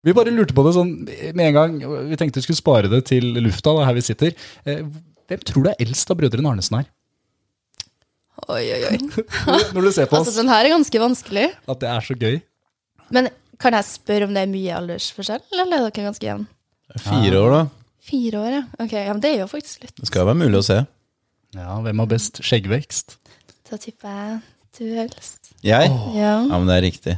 Vi bare lurte på det sånn med en gang. Vi tenkte vi skulle spare det til lufta, da, her vi sitter. Eh, Hvem tror du er eldst av brødrene Arnesen her? Oi, oi, oi. Når du ser på Altså, oss. den her er ganske vanskelig. At det er så gøy. Men kan jeg spørre om det er mye aldersforskjell, eller er dere ganske jevn? Fire år, da. Fire år, ja. Ok, ja, men det er jo faktisk litt. Det skal jo være mulig å se. Ja, hvem har best skjeggvekst? Da tipper jeg du helst. Jeg? Ja, Ja, men det er riktig.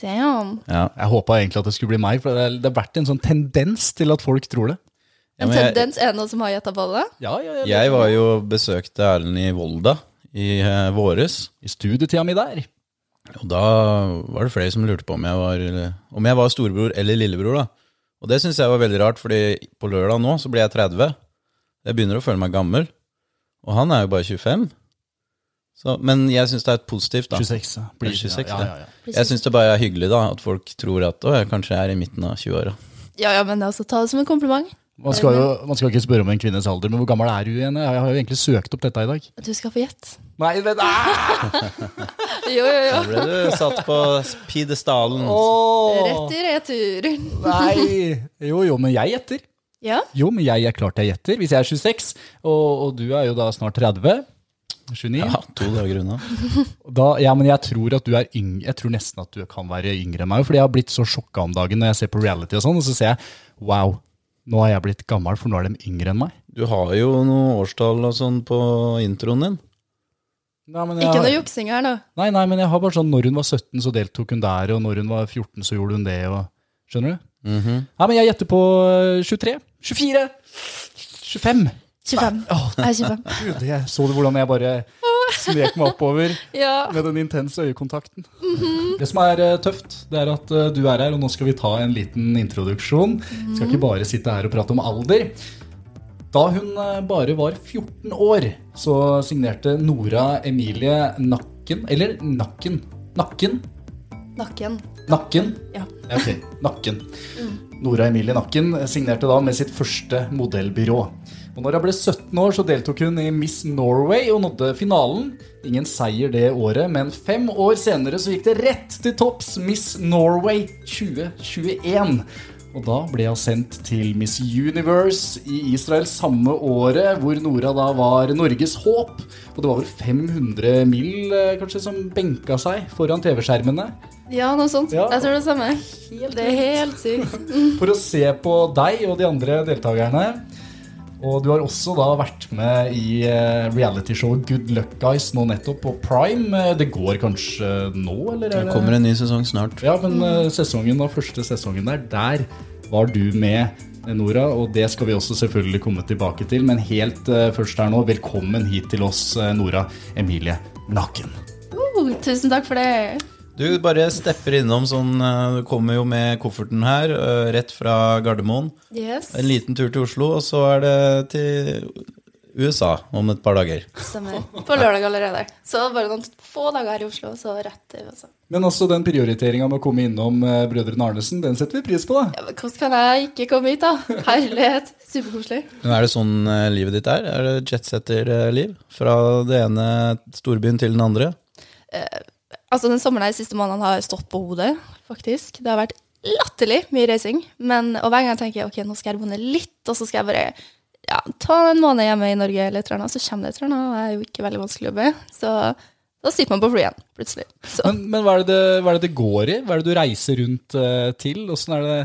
damn. Ja. Jeg håpa egentlig at det skulle bli meg, for det er- det har vært en sånn tendens til at folk tror det. Ja, En men jeg, tendens er det noen som har gjetta på det? Ja, ja, ja. jeg var jo og besøkte Erlend i Volda i eh, våres. I studietida mi der. Og da var det flere som lurte på om jeg var, eh, om jeg var storebror eller lillebror. da. Og det syns jeg var veldig rart, fordi på lørdag nå så blir jeg 30. Jeg begynner å føle meg gammel. Og han er jo bare 25. Så, men jeg syns det er positivt, da. 26. ja. Blir- Det er 26, ja, det. ja, ja. Jeg syns det bare er hyggelig da, at folk tror at å, jeg kanskje er i midten av 20-åra. Ja, ja, men altså, ta det som en kompliment. Man skal jo man skal ikke spørre om en kvinnes alder, men hvor gammel er du igjen? Jeg har jo egentlig søkt opp dette i dag. Du skal få gjett. Nei, ah! det er Jo, jo, jo. Da ble du satt på pidestallen. Rett i retur. Nei! Jo, jo, men jeg gjetter. Ja, Jo, men jeg er klart jeg gjetter. Hvis jeg er 26, og, og du er jo da snart 30 29. Ja, to dager unna. Da, ja, men jeg tror at du er yng- Jeg tror nesten at du kan være yngre enn meg. Fordi jeg har blitt så sjokka om dagen når jeg ser på reality og sånn, og så ser jeg wow, nå har jeg blitt gammel, for nå er de yngre enn meg. Du har jo noen årstall og sånn på introen din. Nei, men ikke noe juksing her nå. Nei, nei, men jeg har bare sånn når hun var 17, så deltok hun der, og når hun var 14, så gjorde hun det, og Skjønner du? Nei, men jeg gjetter på eh, 23, 24, 25. 25. Jeg er 25. Gud, jeg så du hvordan jeg bare snek meg oppover Ja. med den intense øyekontakten. Det som er eh, tøft, det er at eh, du er her, og nå skal vi ta en liten introduksjon. Vi skal ikke bare sitte her og prate om alder. Da hun eh, bare var 14 år, så signerte Nora Emilie Nakken Eller Nakken. Nakken. Nakken. Nakken. Ja. Ja, ok. Nakken. Nora Emilie Nakken signerte da med sitt første modellbyrå. Og når hun ble 17 år, så deltok hun i Miss Norway og nådde finalen. Ingen seier det året, men fem år senere så gikk det rett til topps Miss Norway 2021. Og da ble hun sendt til Miss Universe i Israel samme året, hvor Nora da var Norges håp. Og det var vel 500 mil eh, kanskje som benka seg foran TV-skjermene. Ja, noe sånt. Ja. Jeg tror det er det samme. Det er helt sykt. for å se på deg og de andre deltakerne. Og du har også da vært med i eh, realityshowet Good Luck Guys nå nettopp på Prime. Eh, Det går kanskje nå, eller? er Det kommer en ny sesong snart. Ja, men eh, sesongen da, første sesongen der, der var du med, eh, Nora, og det skal vi også selvfølgelig komme tilbake til. Men helt eh, først her nå, velkommen hit til oss, eh, Nora Emilie Nakken. Oh, tusen takk for det. Du bare stepper innom sånn eh, Du kommer jo med kofferten her, eh, rett fra Gardermoen. Yes. En liten tur til Oslo, og så er det til USA om et par dager. Stemmer. På lørdag allerede. Så bare noen få dager her i altså. Oslo, så rett til USA. Men også den prioriteringa med å komme innom eh, Brødrene Arnesen, den setter vi pris på, da. Ja, men hvordan kan jeg ikke komme hit, da? Herlighet. Superkoselig. Men er det sånn eh, livet ditt er? Er det jetsetter-liv? Fra det ene storbyen til den andre? Altså, den sommeren her, de siste måneden har jeg stått på hodet, faktisk. Det har vært latterlig mye reising. Men, og hver gang jeg tenker ok, nå skal jeg våne litt, og så skal jeg bare ja, ta en måned hjemme i Norge eller et eller annet, så kommer det et eller annet, og jeg er jo ikke veldig vanskelig å be. Så da sitter man på flyet igjen, plutselig. Så. Men, men hva, er det, det- hva er det det går i? Hva er det du reiser rundt eh, til? Åssen er det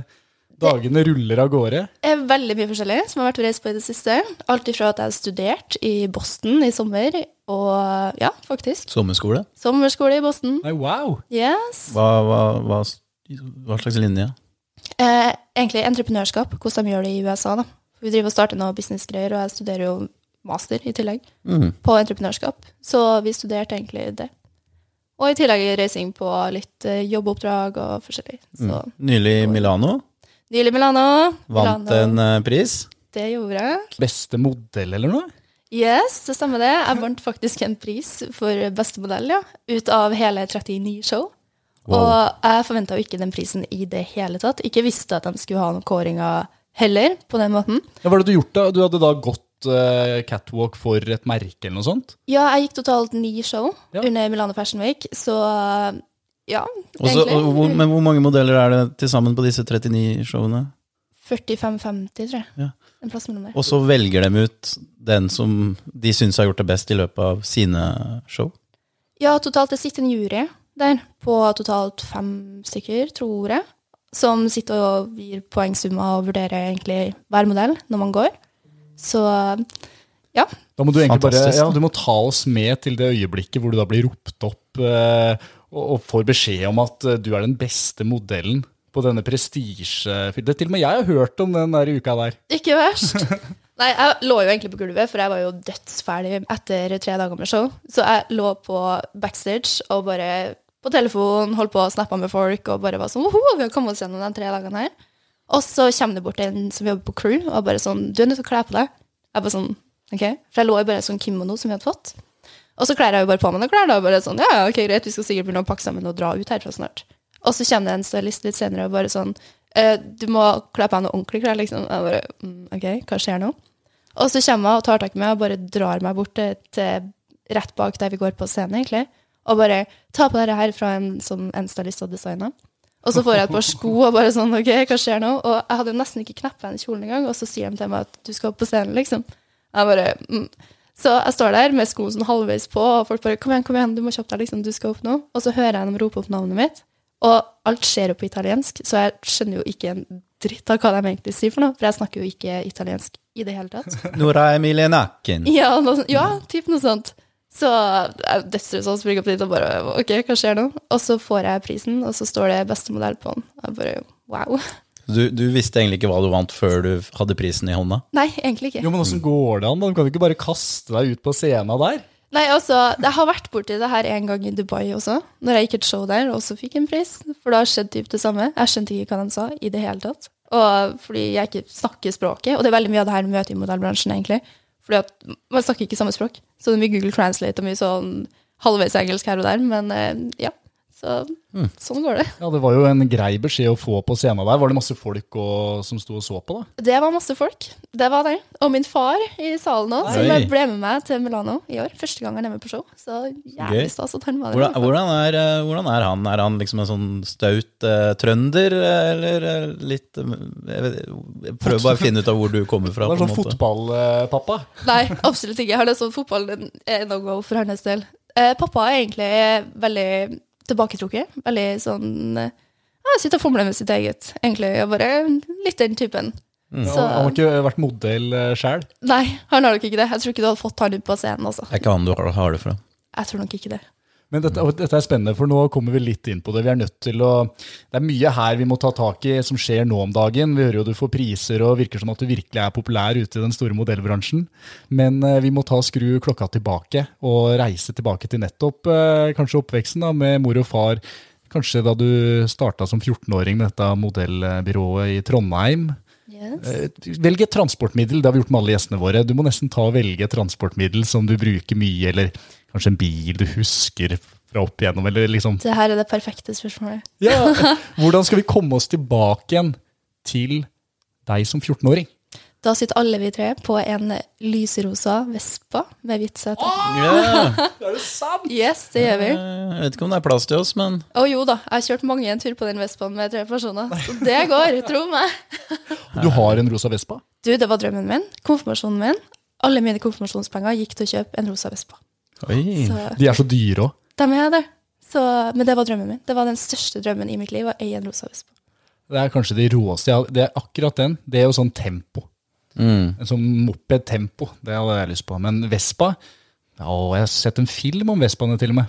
dagene ruller av gårde? Det er veldig mye forskjellig som jeg har vært reist på i det siste. Alt ifra at jeg har studert i Boston i sommer, og ja, faktisk. Sommerskole? Sommerskole i Boston. Nei, wow! Yes. Hva, hva, hva, hva slags linje? Eh, egentlig entreprenørskap, hvordan de gjør det i USA. da. Vi driver og starter noe businessgreier, og jeg studerer jo master i tillegg Mm. på entreprenørskap. Så vi studerte egentlig det. Og i tillegg reising på litt eh, jobboppdrag og forskjellig. Så Nylig i Milano. nylig Milano. Mm. Vant Milano, en eh, pris. Det gjorde jeg. Beste modell, eller noe? Yes, det stemmer det. Jeg vant faktisk en pris for beste modell, ja. Ut av hele 39 show. Og jeg forventa jo ikke den prisen i det hele tatt. Ikke visste at de skulle ha noen kåringer heller, på den måten. Ja, hva hadde du gjort da? Du hadde da gått eh, catwalk for et merke eller noe sånt? Ja, jeg gikk totalt ni show Ja. under Milano Fashion Week, så Ja, Og så- og hvor, egentlig. men hvor mange modeller er det til sammen på disse 39 showene? 45-50, tror jeg. Ja. En plass mellom der. Og så velger de ut den som de syns har gjort det best i løpet av sine show. Ja, totalt det sitter en jury der på totalt fem stykker, tror jeg, som sitter og gir poengsummer og vurderer egentlig hver modell når man går. Så ja. Da må du egentlig bare Fantastisk. ja, du må ta oss med til det øyeblikket hvor du da blir ropt opp eh, og, og får beskjed om at eh, du er den beste modellen på denne prestisjefilmen. Til og med jeg har hørt om den der uka der. Ikke verst. Nei, jeg lå jo egentlig på gulvet, for jeg var jo dødsferdig etter tre dager med show. Så jeg lå på backstage og bare på telefon, holdt på å snappe med folk og bare var sånn Woho, vi har kommet oss gjennom de tre dagene her. Og så kommer det bort en som jobber på crew og bare sånn Du er nødt til å kle på deg. Jeg bare sånn, ok. For jeg lå i bare sånn kimono som vi hadde fått. Og så kler jeg jo bare på meg noen klær. da, og bare sånn, ja, ja, ok, greit, vi skal sikkert begynne å pakke sammen og dra ut herfra snart. Og så kommer det en stylist litt senere og bare sånn, «Eh, du må kle på deg noen ordentlige klær, liksom. Jeg bare, mm, ok, hva skjer nå? Og så kommer jeg og tar tak i meg og bare drar meg bort til, til rett bak der vi går på scenen, egentlig. Og bare ta på dette her fra en som en stylist og designer. Og så får jeg et par sko og bare sånn, ok, hva skjer nå? Og jeg hadde jo nesten ikke kneppet den kjolen engang, og så sier de til meg at du skal opp på scenen, liksom. Jeg bare, mm. Så jeg står der med skoen sånn halvveis på, og folk bare 'Kom igjen, kom igjen, du må kjappe deg, liksom, du skal opp nå.' Og så hører jeg dem rope opp navnet mitt, og alt skjer jo på italiensk, så jeg skjønner jo ikke en dritt av hva de egentlig sier for noe, for jeg snakker jo ikke italiensk i det hele tatt. Nora Emilie Nakken. Ja, noe, sånt- ja typ noe sånt. Så jeg dødsrøsa og springer opp dit og bare OK, hva skjer nå? Og så får jeg prisen, og så står det 'beste modell' på den. Jeg bare wow. Du, du visste egentlig ikke hva du vant før du hadde prisen i hånda. Nei, egentlig ikke. Jo, men åssen går det an? da? Du kan jo ikke bare kaste deg ut på scenen der. Nei, altså, jeg har vært borti det her en gang i Dubai også, når jeg gikk et show der og også fikk en pris, for da skjedde typ det samme. Jeg skjønte ikke hva de sa i det hele tatt, og fordi jeg ikke snakker språket, og det er veldig mye av det her møtet i modellbransjen egentlig, fordi at man snakker ikke samme språk, så det er mye Google Translate og mye sånn halvveis engelsk her og der, men eh, ja, så Mm. sånn går det. Ja, Det var jo en grei beskjed å få på scenen der. Var det masse folk og, som sto og så på, da? Det var masse folk, det var det, og min far i salen også, som Oi. ble med meg til Milano i år, første gang han er med på show, så jævlig stas at han var der. i hvert Hvordan, fall. hvordan, er, eh, hvordan er han? Er han liksom en sånn staut eh, trønder, eh, eller eh, litt eh, jeg vet, jeg Prøv bare å finne ut av hvor du kommer fra. Det var på en sånn måte. fotballpappa. Nei, absolutt ikke. Jeg har det sånn fotball er no go for hans del. Eh, pappa er egentlig veldig tilbaketrukket. Veldig sånn eh, ja, Sitter og fomler med sitt eget, egentlig. Jeg bare litt den typen. Ja, Så han har ikke vært modell eh, sjæl. nei, han har nok ikke det. Jeg tror ikke du hadde fått han ut på scenen, altså. Det er ikke han du har, har det fra. Jeg tror nok ikke det. Men dette, og dette er spennende, for nå kommer vi litt inn på det. Vi er nødt til å, Det er mye her vi må ta tak i som skjer nå om dagen. Vi hører jo du får priser og virker som at du virkelig er populær ute i den store modellbransjen. Men eh, vi må ta skru klokka tilbake og reise tilbake til nettopp eh, kanskje oppveksten da, med mor og far. Kanskje da du starta som 14-åring med dette modellbyrået i Trondheim. Eh, Velg et transportmiddel, det har vi gjort med alle gjestene våre. Du må nesten ta og velge et transportmiddel som du bruker mye, eller kanskje en bil du husker fra opp igjennom, eller liksom Det her er det perfekte spørsmålet. ja, Hvordan skal vi komme oss tilbake igjen til deg som 14-åring? Da sitter alle vi tre på en lyserosa Vespa med hvitt sete. Ja, Yes, det gjør vi. jeg vet ikke om det er plass til oss, men Å jo da, jeg har kjørt mange en tur på den Vespaen med tre personer. Så det går, tro meg. Og Du har en rosa Vespa? Du, det var drømmen min. Konfirmasjonen min. Alle mine konfirmasjonspenger gikk til å kjøpe en rosa Vespa. Oi. Så De er så dyre òg. dem er jeg der. Så, men det var drømmen min. Det var den største drømmen i mitt liv, å eie en rosa Vespa. Det er kanskje de råeste. jeg har- Det er akkurat den. Det er jo sånn tempo. Mm. En sånn moped-tempo. Det hadde jeg lyst på. Men Vespa ja, og Jeg har sett en film om Vespaene, til og med.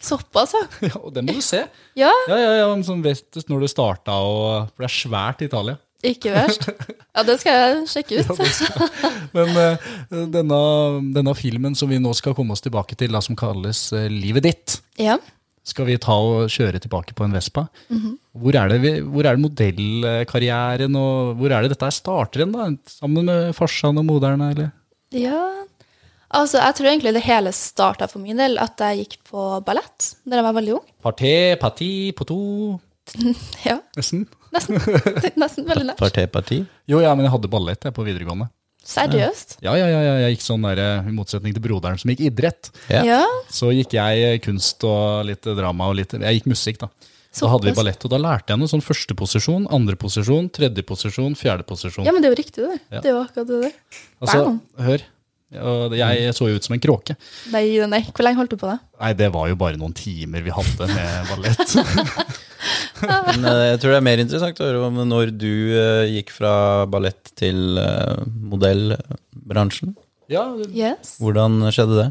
Såpass, ja. Ja, og Den må du se. Ja, Ja, ja, ja, en sånn Vestus når det starta, og, for det er svært i Italia. ikke verst. Ja, det skal jeg sjekke ut. Men eh, denne, denne filmen som vi nå skal komme oss tilbake til, da, som kalles eh, Livet ditt, Ja. skal vi ta og kjøre tilbake på en Vespa. Hvor er det, vi- hvor er det modellkarrieren, og hvor er det dette her starter hen, da? Sammen med farsan og moderen, eller? ja. Altså, jeg tror egentlig det hele starta for min del at jeg gikk på ballett da jeg var veldig ung. Parté, parti, poto Ja, Nesten. nesten. Nesten veldig nært. Parti, parti. Jo, ja, men jeg hadde ballett jeg, på videregående. Seriøst. Ja, ja, ja, ja, jeg gikk sånn der, eh, i motsetning til broderen som gikk eh, idrett. Ja. Ja. Så gikk jeg kunst og litt drama og litt Jeg gikk musikk, da. Da hadde vi Såpass. ballett, og da lærte jeg noe sånn første posisjon, andre posisjon, tredje posisjon, fjerde posisjon. Ja, men det er jo riktig, det. Ja. Det er jo akkurat det. der. altså, wow. hør, og jeg så jo ut som en kråke. Nei, nei, nei. Hvor lenge holdt du på det? Nei, det var jo bare noen timer vi hadde med ballett. Men eh, jeg tror det er mer interessant å høre om når du eh, gikk fra ballett til eh, modellbransjen. ja, Yes. Hvordan skjedde det?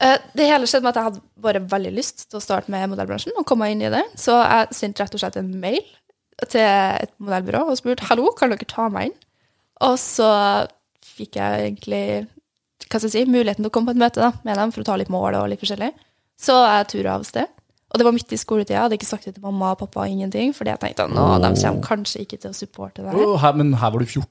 Eh, Det hele skjedde med at jeg hadde bare veldig lyst til å starte med modellbransjen. og komme meg inn i det. Så jeg sendte rett og slett en mail til et modellbyrå og spurte «Hallo, kan dere ta meg inn. Og så fikk jeg egentlig hva skal jeg si, muligheten til å komme på et møte da, med dem for å ta litt mål og litt forskjellig. Så jeg tura av sted. Og det var midt i skoletida. Jeg hadde ikke sagt det til mamma og pappa. ingenting, fordi jeg tenkte at nå, de kommer kanskje ikke til å supporte det her. Å, her, men her var du 14?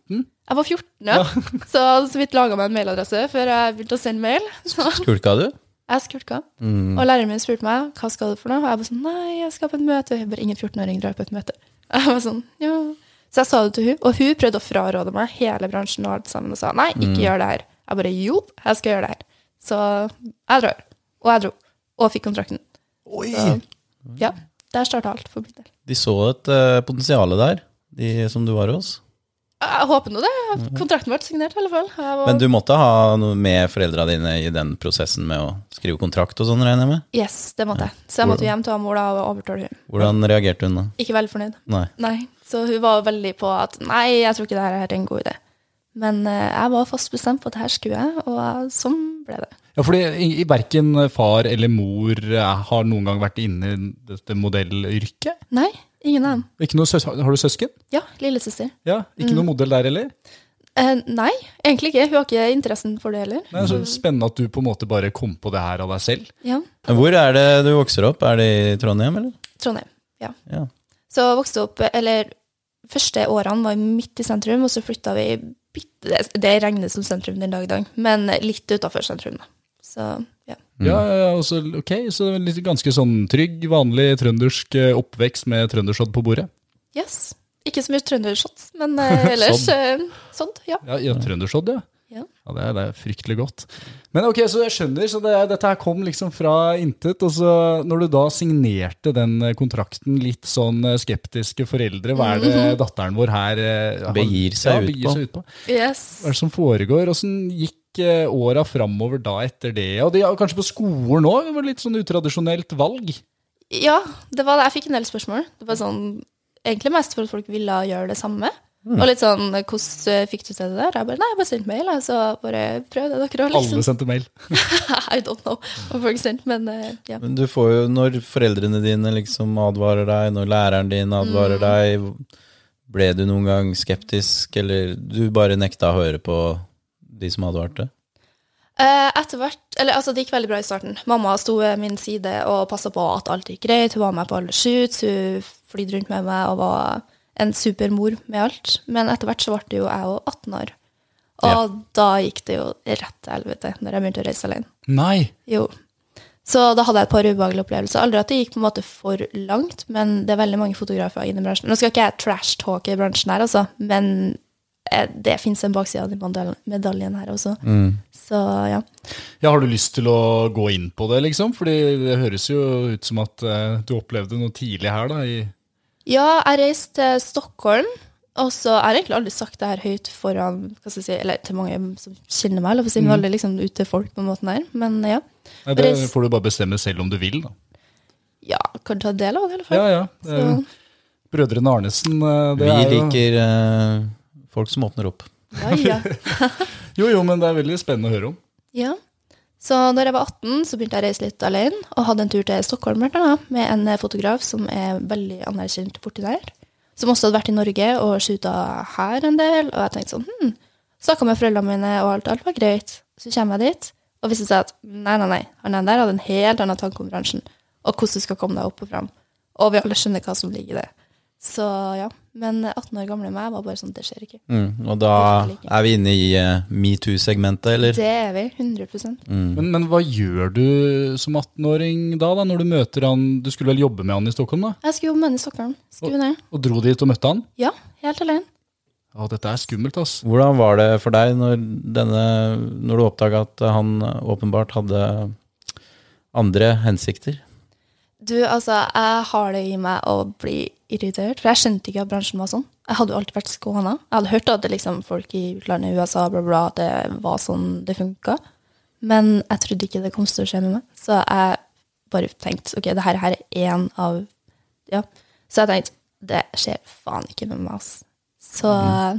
Jeg var 14, ja. så jeg hadde så vidt laga meg en mailadresse før jeg begynte å sende mail. Så Skulka du? Mm. jeg skulka. Og læreren min spurte meg hva skal du for noe. Og jeg var sånn nei, jeg skal på et møte. Og jeg bare ingen 14-åring drar på et møte. Jeg var sånn, ja. Så jeg sa det til hun, og hun prøvde å fraråde meg hele bransjen og alt sammen og sa nei, Mm. ikke gjør det her. Jeg bare jo, jeg skal gjøre det her. Så jeg drar. Og jeg dro. Og fikk kontrakten. Oi! Ja. Der starta alt for min del. De så et eh, potensial der, de som du var hos. Jeg håper nå det. Kontrakten ble signert, i alle fall. Jeg var, Mm. Men du måtte ha noe med foreldra dine i den prosessen med å skrive kontrakt og sånn, regner jeg med? yes, det måtte jeg. Så jeg måtte jo hjem til mor da og overtale hun. Hvordan reagerte hun da? Ikke veldig fornøyd. Nei. Nei, så hun var veldig på at nei, jeg tror ikke det her er en god idé. Men eh, jeg var fast bestemt på at det her skulle jeg, og eh, sånn ble det. Ja, fordi i- i verken far eller mor eh, har noen gang vært inne i dette modellyrket. Nei, ingen av dem. Ikke noe søs har du søsken? Ja, lillesøster. Ja, Mm. ikke noe modell der heller? Eh, nei, egentlig ikke. Hun har ikke interessen for det heller. Nei, så Spennende at du på en måte bare kom på det her av deg selv. Ja, Hvor er det du vokser opp? Er det i Trondheim, eller? Trondheim. Ja. Ja. Så jeg vokste opp, eller første årene var vi midt i sentrum, og så flytta vi bitte det- Det regnes som sentrum den dag i dag, men litt utafor sentrum, da. Så ja. Mm. Ja, ja, og så, ok, så litt, ganske sånn trygg, vanlig trøndersk eh, oppvekst med trøndersodd på bordet. Yes. Ikke så mye trøndershots, men eh, ellers sånn. sånn, ja. Ja, ja trøndersodd, ja. Ja. Ja, det er, det er fryktelig godt. Men ok, så jeg skjønner, så det, dette her kom liksom fra intet, og så når du da signerte den eh, kontrakten, litt sånn eh, skeptiske foreldre, hva er det Mhm. datteren vår her eh, har- Begir seg ja, ut begir på? seg ut på? Yes. Hva er det som foregår? Åssen gikk eh, åra framover da etter det? Og de, ja, kanskje på skolen òg, det var litt sånn utradisjonelt valg? Ja, det var det. Jeg fikk en del spørsmål. Det var sånn, Egentlig mest for at folk ville gjøre det samme. Og litt sånn 'Hvordan eh, fikk du til det der?' Jeg bare 'Nei, jeg bare sendte mail', jeg, så bare prøv det, dere òg, liksom. Alle sendte mail. I don't know hva folk sendte, men eh, ja. Men du får jo, når foreldrene dine liksom advarer deg, når læreren din Mm. advarer deg, ble du noen gang skeptisk, eller du bare nekta å høre på de som advarte? Eh, Etter hvert Eller altså, det gikk veldig bra i starten. Mamma sto ved min side og passa på at alt gikk greit. Hun var med på alle shoots, hun flydde rundt med meg og var en supermor med alt. Men etter hvert så ble jo jeg òg 18 år. Og Ja. da gikk det jo rett til helvete når jeg begynte å reise alene. Nei! Jo. Så da hadde jeg et par ubehagelige opplevelser. Aldri at det gikk på en måte for langt, men det er veldig mange fotografer inne i bransjen. Nå skal ikke jeg trash-talke i bransjen her, altså, men eh, det fins en bakside av den medal- medaljen her også. Mm. Så ja. Ja, Har du lyst til å gå inn på det, liksom? Fordi det høres jo ut som at eh, du opplevde noe tidlig her, da. I Ja, jeg reiste til Stockholm, og så jeg har egentlig aldri sagt det her høyt foran hva skal jeg si, eller til mange som kjenner meg, eller på å si, Mm. men aldri liksom ut til folk på den måten her. Men ja. Nei, det Reis- får du bare bestemme selv om du vil, da. Ja, kan ta del av det, i hvert Ja, fall. ja. Eh, Så- Brødrene Arnesen, eh, det Vi er jo liker eh, folk som åpner opp. ja, ja. Jo, jo, men det er veldig spennende å høre om. Ja. Så når jeg var 18, så begynte jeg å reise litt alene, og hadde en tur til Stockholm blant annet, med en eh, fotograf som er veldig anerkjent borti der, som også hadde vært i Norge og shoota her en del, og jeg tenkte sånn, hm, snakket med foreldrene mine, og alt, alt var greit. Så kommer jeg dit, og viste seg at nei, nei, nei, han der der hadde en helt annen tanke om bransjen, og hvordan du skal komme deg opp og fram. Og vi alle skjønner hva som ligger i det. Så ja, men 18 år gamle meg var bare sånn, det skjer ikke. Mm, og da er vi inne i eh, metoo-segmentet, eller? Det er vi, 100 Men, men hva gjør du som 18-åring da, da, når du møter han Du skulle vel jobbe med han i Stockholm, da? Jeg skulle jobbe med henne i Stockholm, skulle ned. Og dro dit og møtte han? Ja, helt alene. Å, dette er skummelt, ass. Hvordan var det for deg når, denne, når du oppdaga at han åpenbart hadde andre hensikter? Du, altså, jeg har det i meg å bli irritert, for jeg skjønte ikke at bransjen var sånn. Jeg hadde jo alltid vært skåna. Jeg hadde hørt at det, liksom, folk i utlandet, USA, bla, bla, at det var sånn det funka. Men jeg trodde ikke det kom til å skje med meg. Så jeg bare tenkte ok, det her, her er én av Ja. Så jeg tenkte det skjer faen ikke med meg, ass. Så Mhm.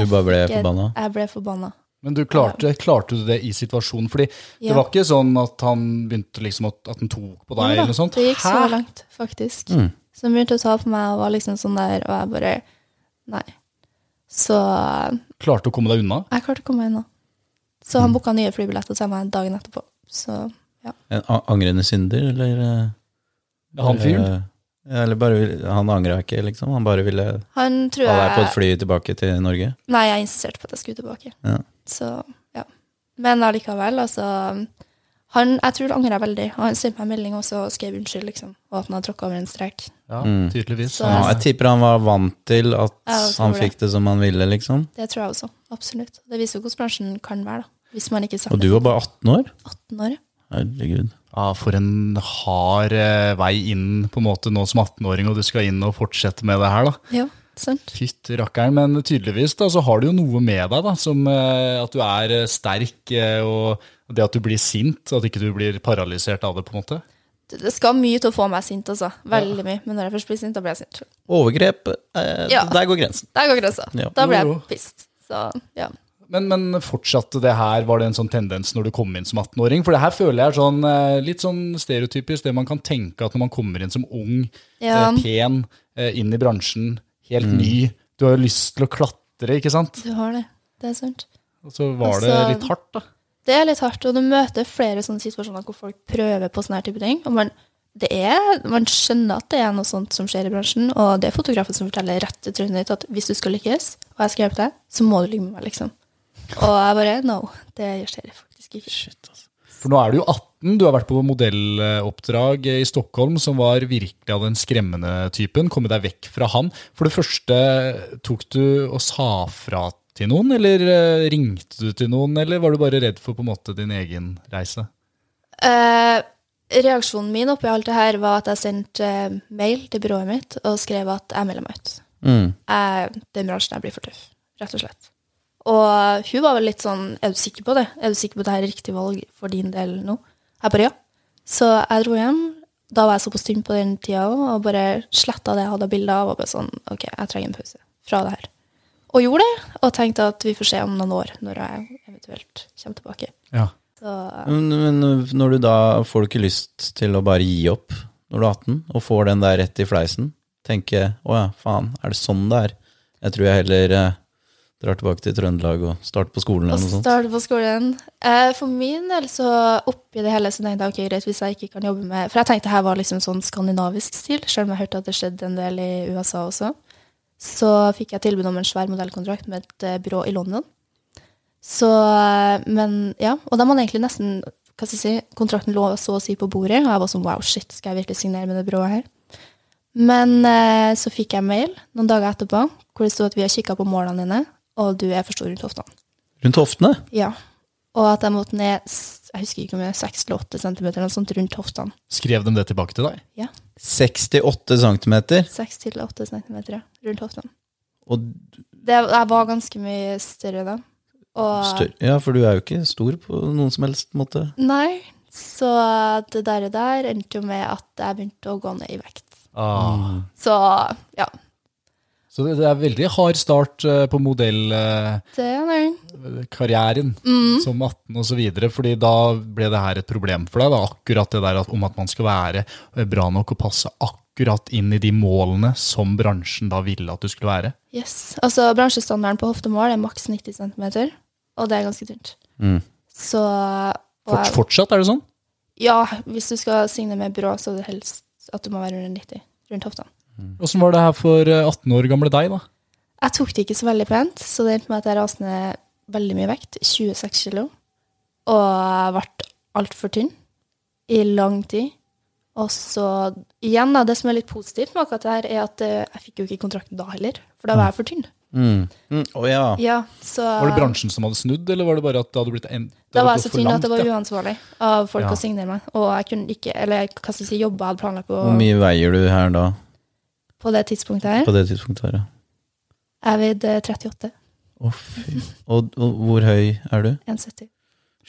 Du bare ble fikk et- forbanna? Jeg ble forbanna. Men du klarte, klarte du det i situasjonen? Fordi det Ja. var ikke sånn at han begynte liksom at, at han tok på deg Jo da, eller noe sånt? Det gikk så Hæ? langt, faktisk. Mm. Så han begynte å ta på meg og var liksom sånn der, og jeg bare Nei. Så jeg Klarte å komme deg unna? klarte å komme meg unna. Så Mm. han booka nye flybilletter til meg dagen etterpå. Så En a- angrende synder, eller eh, Han fyren? eh, Ja, eller bare, vil- han angra ikke, liksom. Han bare ville han tror ha deg på jeg et fly tilbake til Norge. Nei, jeg insisterte på at jeg skulle tilbake. Ja. Så, ja. Men allikevel, altså han, Jeg tror han angrer veldig. Og Han sendte meg en melding også og skrev unnskyld, liksom. Og at han hadde tråkka over en strek. Ja, Mm. tydeligvis. Så- Ja, jeg tipper han var vant til at Ja, jeg tror han det. fikk det som han ville, liksom. Det tror jeg også. Absolutt. Det viser jo hvordan bransjen kan være, da. Hvis man ikke Og du var bare 18 år? 18 år. Herregud. Ja, for en hard eh, vei inn på en måte nå som 18-åring, og du skal inn og fortsette med det her, da. Ja, sant. Fytti rakkeren, men tydeligvis da, så har du jo noe med deg, da, som eh, at du er eh, sterk, eh, og det at du blir sint, at ikke du blir paralysert av det, på en måte. Det det skal mye til å få meg sint, altså. Veldig mye. Men når jeg først blir sint, da blir jeg sint. Overgrep, eh, Ja. der går grensen. Der går grensa. Ja. Da blir Jo, jeg jo. pissed. Så ja. Men, men fortsatte det her, var det en sånn tendens når du kom inn som 18-åring? For det her føler jeg er sånn, eh, litt sånn stereotypisk, det man kan tenke at når man kommer inn som ung, Ja. eh, pen, eh, inn i bransjen, helt ny, du har jo lyst til å klatre, ikke sant? Du har det. Det er sant. Og så var det Altså- litt hardt, da. Det er litt hardt, og du møter flere sånne situasjoner hvor folk prøver på sånne her type ting. Og man, det er, man skjønner at det er noe sånt som skjer i bransjen, og det er fotografen som forteller rett til trynet ditt at hvis du skal lykkes, og jeg skal hjelpe deg, så må du ligge med meg, liksom. Og jeg bare no, det skjer faktisk ikke. Shit, altså. For nå er du jo 18, du har vært på modelloppdrag i Stockholm, som var virkelig av den skremmende typen. Komme deg vekk fra han. For det første, tok du og sa fra til noen, eller eh, ringte du til noen, eller var du bare redd for på en måte din egen reise? Eh, reaksjonen min oppi alt det her var at jeg sendte eh, mail til byrået mitt og skrev at jeg melder meg ut. Mm. jeg, den bransjen her blir for tøff, rett og slett. Og hun var vel litt sånn, er du sikker på det? Er du sikker på at det her er riktig valg for din del nå? Jeg bare ja. Så jeg dro hjem. Da var jeg såpass tynn på den tida òg, og bare sletta det jeg hadde av bilder av, og bare sånn, ok, jeg trenger en pause fra det her. Og gjorde det, og tenkte at vi får se om noen år, når jeg eventuelt kommer tilbake. Ja. Så Men, men når du da får du ikke lyst til å bare gi opp når du er 18, og får den der rett i fleisen, tenke å ja, faen, er det sånn det er? Jeg tror jeg heller eh, drar tilbake til Trøndelag og starter på skolen å eller noe sånt. starte på skolen eh, For min del, så oppi det hele, så tenkte jeg ok, greit, hvis jeg ikke kan jobbe med For jeg tenkte her var liksom sånn skandinavisk stil, selv om jeg hørte at det skjedde en del i USA også. Så fikk jeg tilbud om en svær modellkontrakt med et eh, byrå i London. Så, eh, men ja, Og da man egentlig nesten hva skal jeg si, Kontrakten lå så å si på bordet, og jeg var sånn wow, shit, skal jeg virkelig signere med det byrået her? Men eh, så fikk jeg mail noen dager etterpå hvor det sto at vi har kikka på målene dine, og du er for stor rundt hoftene. Rundt hoftene? Ja. Og at jeg måtte ned s- jeg husker ikke om det er 6 eller 8 cm eller noe sånt rundt hoftene. Skrev de det tilbake til deg? Ja, 68 centimeter, 6 til 8 cm ja, rundt hoftene. og Det, jeg var ganske mye større da. Og, større. Ja, for du er jo ikke stor på noen som helst måte. Nei, så det der, og der endte jo med at jeg begynte å gå ned i vekt. Ah. Så ja, Så det, det er veldig hard start eh, på modellkarrieren det er nei. eh, karrieren Mm. som 18 osv., fordi da ble det her et problem for deg. Da. Akkurat det der at, om at man skal være eh, bra nok og passe akkurat inn i de målene som bransjen da ville at du skulle være. Yes. Altså, bransjestandarden på hoftemål er maks 90 cm, og det er ganske tynt. Mm. Så og Fort, jeg- fortsatt er det sånn? Ja, hvis du skal signe med byrå, så er det helst at du må være under 90 rundt hoftene. Åssen var det her for eh, 18 år gamle deg, da? Jeg tok det ikke så veldig pent, så det endte med at jeg raste ned veldig mye vekt, 26 kilo, og jeg ble altfor tynn i lang tid. Og så igjen, da, det som er litt positivt med akkurat det her, er at eh, jeg fikk jo ikke kontrakten da heller, for da var jeg for tynn. Mm, Å ja. Ja, så Var det bransjen som hadde snudd, eller var det bare at det hadde blitt en, det Da hadde var jeg gått så for tynn at det langt, var ja? uansvarlig av folk Ja. å signere meg. Og jeg kunne ikke, eller hva skal jeg si, jobba jeg hadde planlagt på, Hvor mye veier du her da, på det tidspunktet her. på det tidspunktet her? ja? Jeg veide 38. Å, fy. Og, og hvor høy er du? 1,70.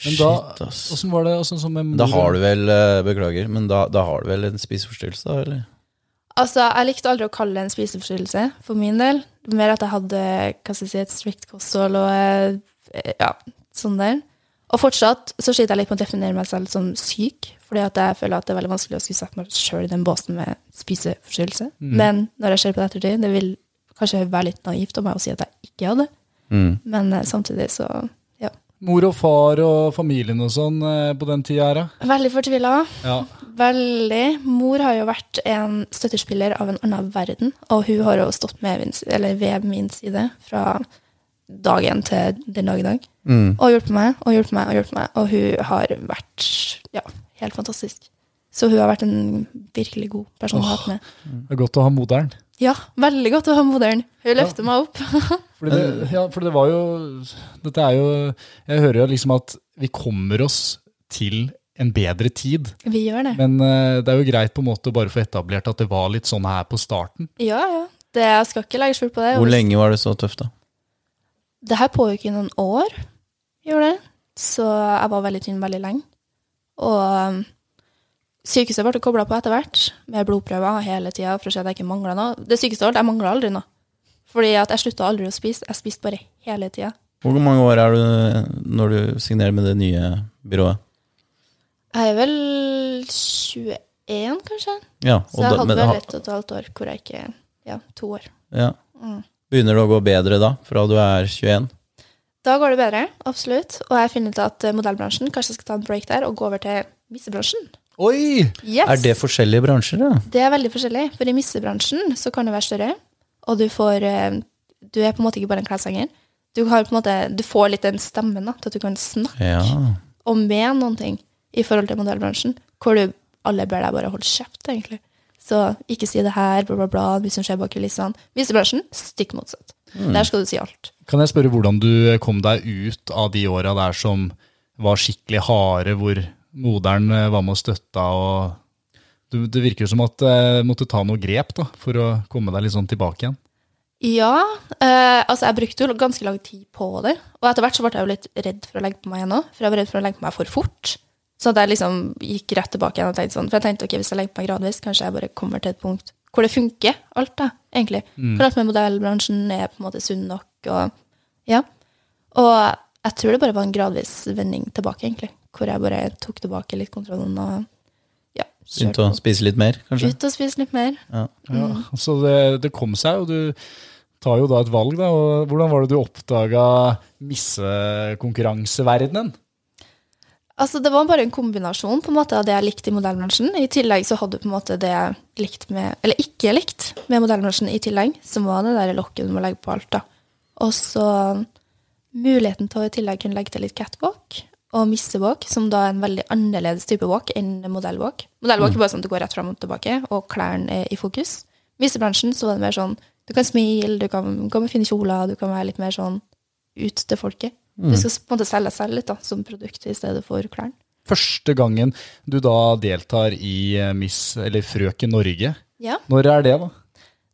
Men da- Shit, ass. Åssen var det? Åssen som med Da har moren? du vel, eh, beklager, men da, da har du vel en spiseforstyrrelse, da, eller? Altså, jeg likte aldri å kalle det en spiseforstyrrelse, for min del. Mer at jeg hadde hva skal jeg si, et strict kosthold og eh, ja, sånn der. Og fortsatt så sliter jeg litt med å definere meg selv som syk, fordi at jeg føler at det er veldig vanskelig å skulle sette meg sjøl i den båsen med spiseforstyrrelse. Men når jeg ser på det ettertid, det vil kanskje være litt naivt av meg å si at jeg ikke hadde, Mm. men eh, samtidig så ja. Mor og far og familien og sånn eh, på den tida her, da? Veldig fortvila. Ja. Veldig. Mor har jo vært en støttespiller av en annen verden, og hun har jo stått med min, si- eller ved min side fra dagen til den dag i dag. Mm. Og hjulpet meg og hjulpet meg og hjulpet meg, og hun har vært ja, helt fantastisk. Så hun har vært en virkelig god person å ha hatt med. Det er godt å ha moderen. Ja, veldig godt å ha moderen. Hun løfter meg opp. Fordi det, ja, for det var jo Dette er jo Jeg hører jo liksom at vi kommer oss til en bedre tid. Vi gjør det. Men eh, det er jo greit på en måte å bare få etablert at det var litt sånn her på starten. Ja, ja. Det, jeg skal ikke legge skjul på det. Hvor lenge var det så tøft, da? Det her pågikk i noen år, gjorde det. Så jeg var veldig tynn veldig lenge. Og um, sykehuset ble kobla på etter hvert, med blodprøver hele tida for å se at jeg ikke mangla noe. Det sykeste av alt, jeg mangla aldri noe. Fordi at jeg slutta aldri å spise. Jeg spiste bare hele tida. Hvor mange år er du eh, når du signerer med det nye byrået? Jeg er vel 21, kanskje. Ja, Så jeg hadde men vel ha- ett og et halvt år hvor jeg ikke Ja, to år. ja. Mm. Begynner det å gå bedre da, fra du er 21? Da går det bedre, absolutt. Og jeg har funnet ut at eh, modellbransjen kanskje jeg skal ta en break der og gå over til missebransjen. Oi! Yes! Er det forskjellige bransjer, da? Det er veldig forskjellig, for i missebransjen så kan du være større, og du får eh, Du er på en måte ikke bare en kleshenger. Du, har på en måte, du får litt den stemmen da, til at du kan snakke Ja. og mene noen ting i forhold til modellbransjen, hvor du alle ber deg bare holde kjeft, egentlig. Så ikke si det her, bla, bla, bla, hvis som skjer bak kulissene. Missebransjen, stikk motsatt. Der skal du si alt. Kan jeg spørre hvordan du eh, kom deg ut av de åra der som var skikkelig harde, hvor moderen eh, var med og støtta og du, Det virker jo som at eh, måtte ta noe grep da, for å komme deg litt sånn tilbake igjen. Ja. Eh, altså, jeg brukte jo ganske lang tid på det. Og etter hvert så ble jeg jo litt redd for å legge på meg igjen òg, for jeg var redd for å legge på meg for fort. Så at jeg liksom gikk rett tilbake igjen og tenkte sånn. For jeg tenkte ok, hvis jeg legger på meg gradvis, kanskje jeg bare kommer til et punkt hvor det funker, alt da, egentlig. For alt med modellbransjen er på en måte sunn nok og Ja. Og jeg tror det bare var en gradvis vending tilbake, egentlig. Hvor jeg bare tok tilbake litt kontrollen og ja, Begynte å kjørte på. spise litt mer, kanskje? ut og spise litt mer. Ja, så det, det kom seg, og du tar jo da et valg. Da, og hvordan var det du oppdaga missekonkurranseverdenen? Altså, det var bare en kombinasjon på en måte, av det jeg likte i modellbransjen. I tillegg så hadde du på en måte det jeg likte med, eller ikke likte med modellbransjen i tillegg, som var det der lokket du må legge på alt. da. Og så muligheten til å i tillegg kunne legge til litt catwalk og missewalk, som da er en veldig annerledes type walk enn modellwalk. Modellwalk er bare sånn at du går rett fram og tilbake, og klærne er i fokus. I missebransjen så var det mer sånn du kan smile, du kan gå med fine kjoler, du kan være litt mer sånn ut til folket. Du skal på en måte selge deg selv litt da, som produkt i stedet for klærne. Første gangen du da deltar i eh, Miss, eller Frøken Norge, Ja. når er det, da?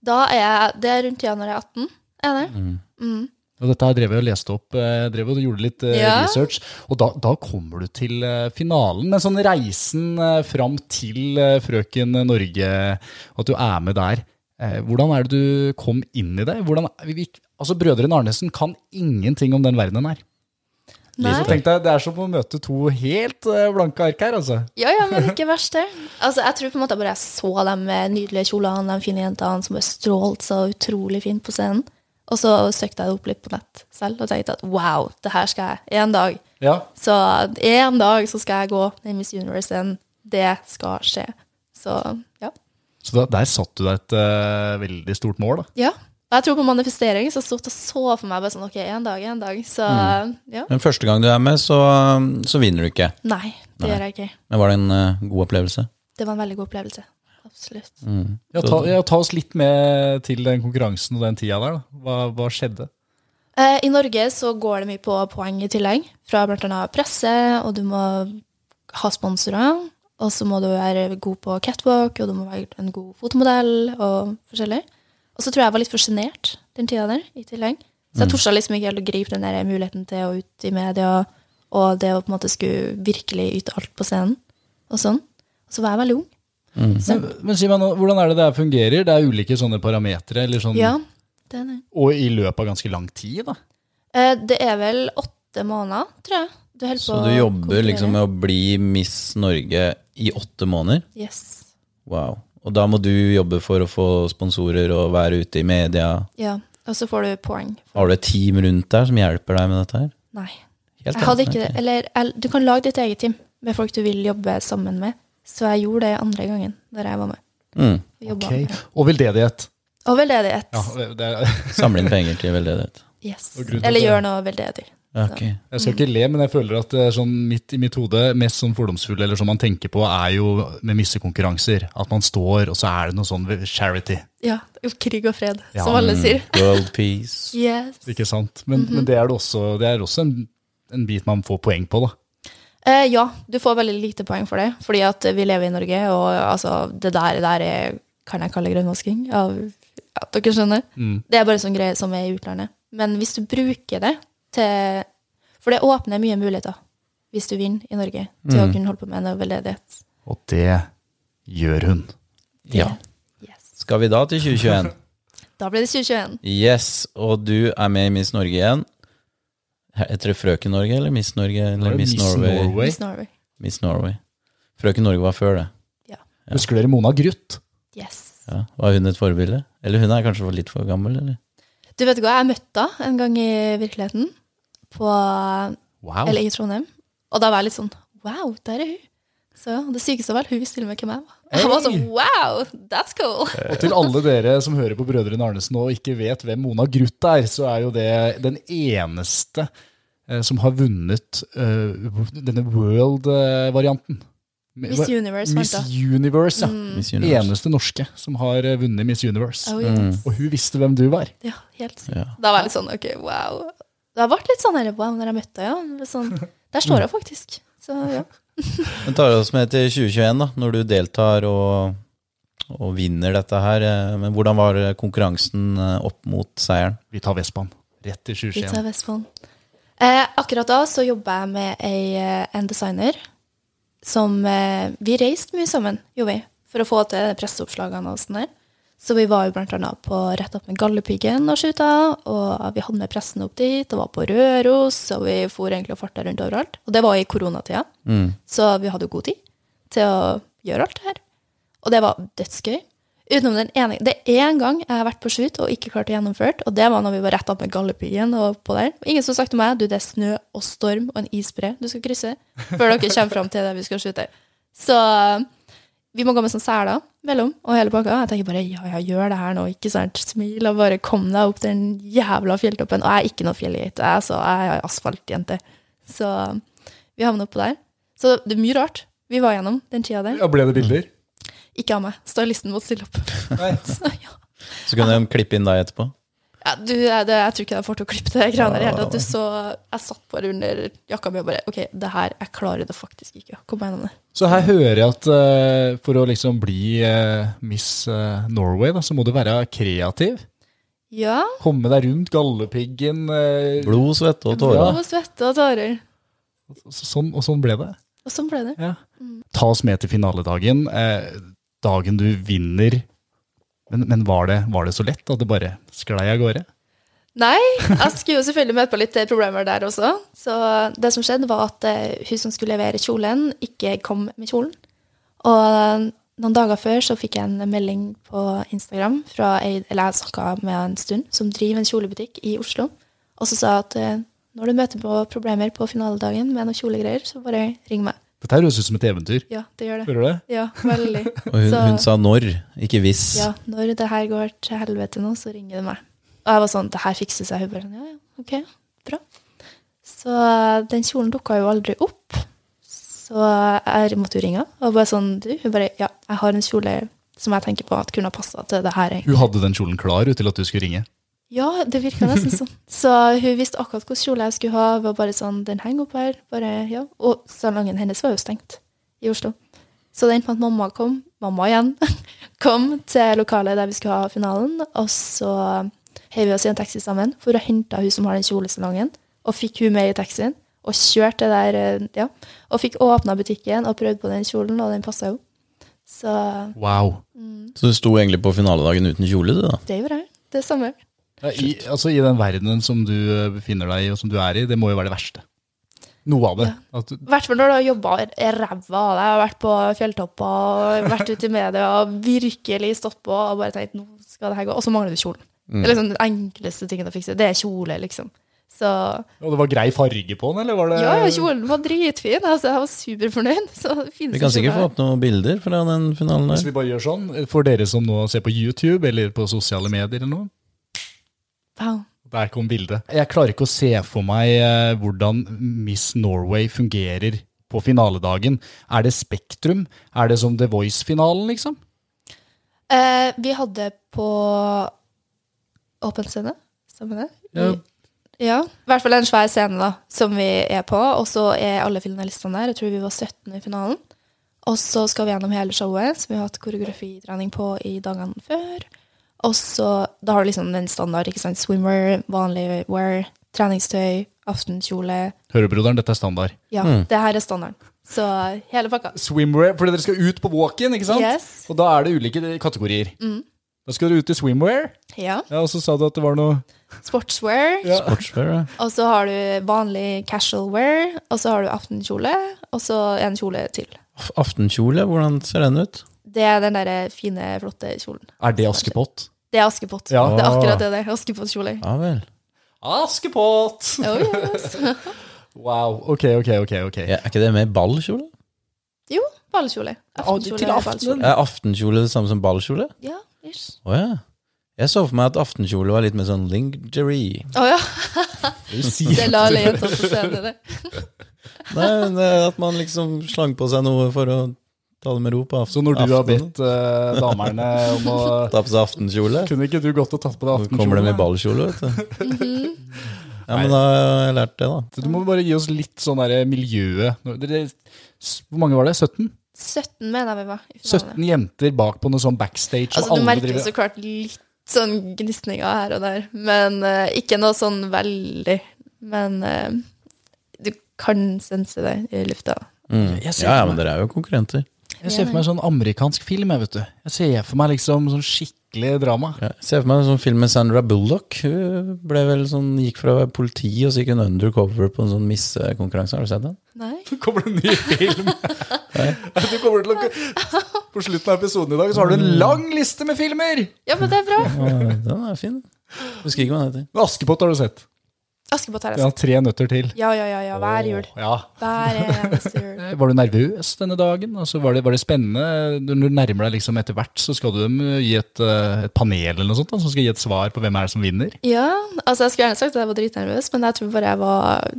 Da er jeg, det er rundt tida når jeg er 18. Er det? Og dette her drev jeg og leste opp, eh, drev og gjorde litt eh, Ja. research, og da, da kommer du til eh, finalen. Men sånn reisen eh, fram til eh, Frøken Norge, og at du er med der, eh, hvordan er det du kom inn i det? Hvordan, vi, vi, altså, Brødrene Arnesen kan ingenting om den verdenen her. Nei. Så tenk deg, Det er som å møte to helt eh, blanke ark her, altså. Ja, ja, men ikke verst det. Altså, jeg tror på en måte bare jeg så de nydelige kjolene, de fine jentene som bare strålte så utrolig fint på scenen. Og så søkte jeg det opp litt på nett selv og tenkte at wow, det her skal jeg en dag. Ja, Så en dag så skal jeg gå i Miss Universe-scenen. Det skal skje. Så ja. Så da, der satt du deg et eh, veldig stort mål, da. ja. Og jeg tror på manifestering, så stod jeg og så for meg bare sånn ok, en dag, en dag. Så ja. Men første gang du er med, så, så vinner du ikke. Nei, det gjør jeg ikke. Men var det en eh, god opplevelse? Det var en veldig god opplevelse. absolutt. Ja, ta, ja, ta oss litt med til den konkurransen og den tida der. Da. Hva, hva skjedde? Eh, I Norge så går det mye på poeng i tillegg, fra bl.a. presse, og du må ha sponsorer. Og så må du være god på catwalk, og du må være en god fotomodell, og forskjellig. Og så tror jeg jeg var litt for sjenert den tida der, i tillegg. Så jeg torde liksom ikke helt å gripe den der muligheten til å ut i media, og det å på en måte skulle virkelig yte alt på scenen, og sånn. Og så var jeg veldig ung. Men, men si meg nå, Hvordan er det det her fungerer? Det er ulike sånne parametere, eller sånn, Ja, det er det. og i løpet av ganske lang tid. da. Eh, Det er vel åtte måneder, tror jeg. Du holder på Så du å jobber liksom konkurrere. med å bli Miss Norge i åtte måneder? Yes. Wow. Og da må du jobbe for å få sponsorer og være ute i media. Ja, og så får du poeng. Har du et team rundt der som hjelper deg med dette her? Nei. Helt Jeg hadde annet, ikke det. ok. Eller el- du kan lage ditt eget team med folk du vil jobbe sammen med. Så jeg gjorde det andre gangen der jeg var med. Mm. og jobbet Ok. med. Og veldedighet. Og veldedighet. Ja, det er, Samle inn penger til veldedighet. Mm. Yes. Og grunnen til Eller at gjør noe veldedig. Ja, ok. jeg skal ikke le, men jeg føler at det er sånn midt i mitt hode mest sånn fordomsfulle, eller som man tenker på, er jo med missekonkurranser. At man står, og så er det noe sånn charity. Ja. Krig og fred, Ja. som alle sier. World peace. Yes. Ikke sant? Mhm. Men, men det er det også, det er også en, en bit man får poeng på, da. Eh, ja, du får veldig lite poeng for det, fordi at vi lever i Norge, og altså, det der, der er, kan jeg kalle grønnvasking. Av, ja, dere skjønner. Mm. Det er bare sånn greie som er i utlandet. Men hvis du bruker det til For det åpner mye muligheter hvis du vinner i Norge, til å kunne holde på med en veldedighet. Og det gjør hun. Ja. Yes. Skal vi da til 2021? Da ble det 2021. Yes, og du er med i Miss Norge igjen. Heter det Frøken Norge eller Miss Norge? Eller Miss, Norway? Miss Norway. Miss Norway. Frøken Norge var før det. Husker dere Mona Gruth? Yes. Ja. Var hun et forbilde? Eller hun er kanskje for litt for gammel? eller? Du vet hva, jeg møtte henne en gang i virkeligheten, på, Wow. eller i Trondheim. Og da var jeg litt sånn Wow, der er hun! Så det sykeste var at hun visste til og med hvem jeg var. Jeg var sånn Wow, that's cool! Og til alle dere som hører på Brødrene Arnesen og ikke vet hvem Mona Gruth er, så er jo det den eneste eh, som har vunnet eh, denne world-varianten. Miss Universe Miss vant da. Mm. Universe, ja. Miss Universe. Eneste norske som har eh, vunnet Miss Universe. Oh, yes. Og hun visste hvem du var. Ja, helt sykt. Ja. Da var jeg litt sånn Ok, wow. Da ble jeg litt sånn her, wow når jeg møtte henne. Ja. Litt Sånn, der står hun faktisk. Så ja. Men tar oss med til 2021, da, når du deltar og, og vinner dette her. eh, Men hvordan var konkurransen eh, opp mot seieren? Vi tar Vespaen. Rett til Vi tar Sjusjøen. Vestfold. Eh, akkurat da så jobba jeg med ei, eh, en designer som eh, Vi reiste mye sammen, gjorde vi, for å få til presseoppslagene og sånn der. Så vi var jo blant annet på Rett opp med Galdhøpiggen og skjuta, og vi hadde med pressen opp dit, og var på Røros, og vi for egentlig og farta rundt overalt. Og det var i koronatida, Mm. så vi hadde jo god tid til å gjøre alt det her. Og det var dødsgøy. Utenom den ene, det er én gang jeg har vært på shoot og ikke klart å gjennomføre, og det var når vi var rett opp med Galdhøpiggen. og på der. Ingen som sa til meg du, det er snø og storm og en isbre du skal krysse før dere kommer fram til det vi skal shoote. Så eh, vi må gå med sånn seler mellom og hele pakka. Jeg tenker bare ja, ja, gjør det her nå, ikke sant? Smil og bare kom deg opp den jævla fjelltoppen. Og jeg er ikke noe fjellgeit, jeg, så jeg er asfaltjente. Så vi havna oppå der. Så det er mye rart vi var gjennom den tida der. Ja, ble det bilder? Ikke av meg. Stylisten måtte stille opp. Så, ja. Så kunne de klippe inn deg etterpå. Ja, du, jeg, det, jeg tror ikke jeg får til å klippe det greiene der i hele tatt. Du så, jeg satt bare under jakka mi og bare Ok, det her, jeg klarer det faktisk ikke. Kom meg gjennom det. Så her hører jeg at eh, for å liksom bli eh, Miss eh, Norway, da, så må du være kreativ. Ja. Komme deg rundt Galdhøpiggen. eh, Blod, svette og tårer. Blod, svette og tårer. Så- Sånn, og sånn ble det. Og sånn ble det. Ta oss med til finaledagen. Eh, dagen du vinner. Men, men var, det, var det så lett at det bare sklei av gårde? Nei, jeg skulle jo selvfølgelig møte på litt eh, problemer der også. Så det som skjedde, var at eh, hun som skulle levere kjolen, ikke kom med kjolen. Og eh, noen dager før så fikk jeg en melding på Instagram fra ei, eller jeg snakket med en stund, som driver en kjolebutikk i Oslo, og så sa jeg at eh, når du møter på problemer på finaledagen med noen kjolegreier, så bare ring meg. Dette høres ut som et eventyr. Ja, det gjør det. Hører du det? Ja, veldig. Og hun, Så- hun sa når, ikke hvis. ja, når det her går til helvete nå, så ringer det meg. Og jeg var sånn, det her fikser seg. Hun bare, ja, ja, ok, bra. Så den kjolen dukka jo aldri opp. Så jeg måtte jo ringe henne, og bare sånn, du, hun bare, ja, jeg har en kjole som jeg tenker på at kunne ha passa til det her. egentlig. Hun hadde den kjolen klar ut til at du skulle ringe. Ja, det virka nesten sånn. Så hun visste akkurat hvilken kjole jeg skulle ha. Var bare sånn, den henger opp her. Bare, ja. Og salongen hennes var jo stengt i Oslo. Så det endte med at mamma kom, mamma igjen, kom til lokalet der vi skulle ha finalen. Og så heiv vi oss i en taxi sammen for å hente hun som har den kjolesalongen. Og fikk hun med i taxien. Og kjørte det der, eh, ja. Og fikk åpna butikken og prøvd på den kjolen, og den passa jo. Så Wow. Så du sto egentlig på finaledagen uten kjole, du da? det gjorde jeg. Det samme. Ja, I, altså, I den verdenen som du eh, befinner deg i, og som du er i, det må jo være det verste. Noe av det. At, du- I hvert fall når du har jobba ræva av deg, og vært på fjelltopper og vært ute i media og virkelig stått på og bare tenkt nå skal det her gå, og så mangler du kjolen. Mm. Det er liksom den enkleste tingen å fikse. Det er kjole, liksom. Så og det var grei farge på den, eller var det ja, Eh. ja, kjolen var dritfin. Altså, jeg var superfornøyd. Så det finnes Vi kan jo sikkert få kjoler. opp noen bilder fra den finalen Hvis der. vi bare gjør sånn, for dere som nå ser på YouTube eller på sosiale medier eller noe, Wow. der kom bildet. Jeg klarer ikke å se for meg eh, hvordan Miss Norway fungerer på finaledagen. Er det Spektrum? Er det som The Voice-finalen, liksom? Eh, vi hadde på Åpen scene, stemmer det? Ja. Ja, i hvert fall en svær scene da, som vi er på, og så er alle finalistene der. Jeg tror vi var 17 i finalen. Og så skal vi gjennom hele showet, som vi har hatt koreografitrening på i dagene før. Og så, da har du liksom den standard, ikke sant? Swimwear, vanlig wear, treningstøy, aftenkjole. Hørebroderen, dette er standard. Ja, det her er standarden. Så hele pakka. Swimwear, fordi dere skal ut på walk-in, ikke sant? Yes. Og da er det ulike kategorier. Da skal dere ut i swimwear, Ja, ja, og så sa du at det var noe sportswear. Sportswear, ja. Og så har du vanlig casual wear, og så har du aftenkjole, og så en kjole til. Af- Aftenkjole, hvordan ser den ut? Det er den derre fine, flotte kjolen. Er det Askepott? Det er Askepott. Ja. Det er akkurat det det er. Askepott-kjole. Ja vel. Askepott! Oh, yes. Wow. Ok, ok, ok. ok. Ja, er ikke det mer ballkjole? Jo, ballkjole. Aftenkjole til er aftenen. ballkjole. Er aftenkjole det samme som ballkjole? Ja, ish. Å ja. Jeg så for meg at aftenkjole var litt mer sånn lingerie. Å ja, Du sier det la alle jenter på scenen. det. Nei, men eh, at man liksom slang på seg noe for å ta det med ro på aften. Så når du har aftenen. bedt eh, damerne om å Ta på seg aftenkjole, Kunne ikke du gått og tatt på deg så kommer de aftenkjole? i ballkjole, vet du. Mhm. Ja, men da har jeg lært det, da. Du må bare gi oss litt sånn derre miljøet. Nå- dere- s- Hvor mange var det? 17? 17 mener jeg vi var i 17 finalen. jenter bak på noe sånn backstage. Altså, og du alle merker driver så klart litt sånn gnisninger her og der, men eh, ikke noe sånn veldig. Men eh, du kan sense det i lufta. Mm. Jeg ser Ja, ja, for meg- men dere er jo konkurrenter. Jeg ser for meg sånn amerikansk film. Jeg vet du Jeg ser for meg liksom sånn skikkelig drama. Ja, jeg ser for meg en sånn film med Sandra Bullock. Hun ble vel sånn, gikk fra å være politi og så gikk hun undercover på en sånn missekonkurranse. Har du sett den? Nei? Så kommer det en ny film. Du kommer til å, på slutten av episoden i dag så har du en lang liste med filmer! Ja, men det er bra. Ja, Den er fin. Husker ikke hva den heter. Men Askepott har du sett. Askepott altså. har jeg Den har tre nøtter til. sett. Ja, ja, ja, ja. Hver jul. Åh, Ja. Hver eneste jul. Eh, Var du nervøs denne dagen? Altså, var, det, var det spennende? Når du nærmer deg liksom etter hvert, så skal du dem gi et, eh, et panel eller noe sånt, da, som skal gi et svar på hvem er det som vinner. Ja, altså jeg skulle gjerne sagt at jeg var dritnervøs, men jeg tror bare jeg var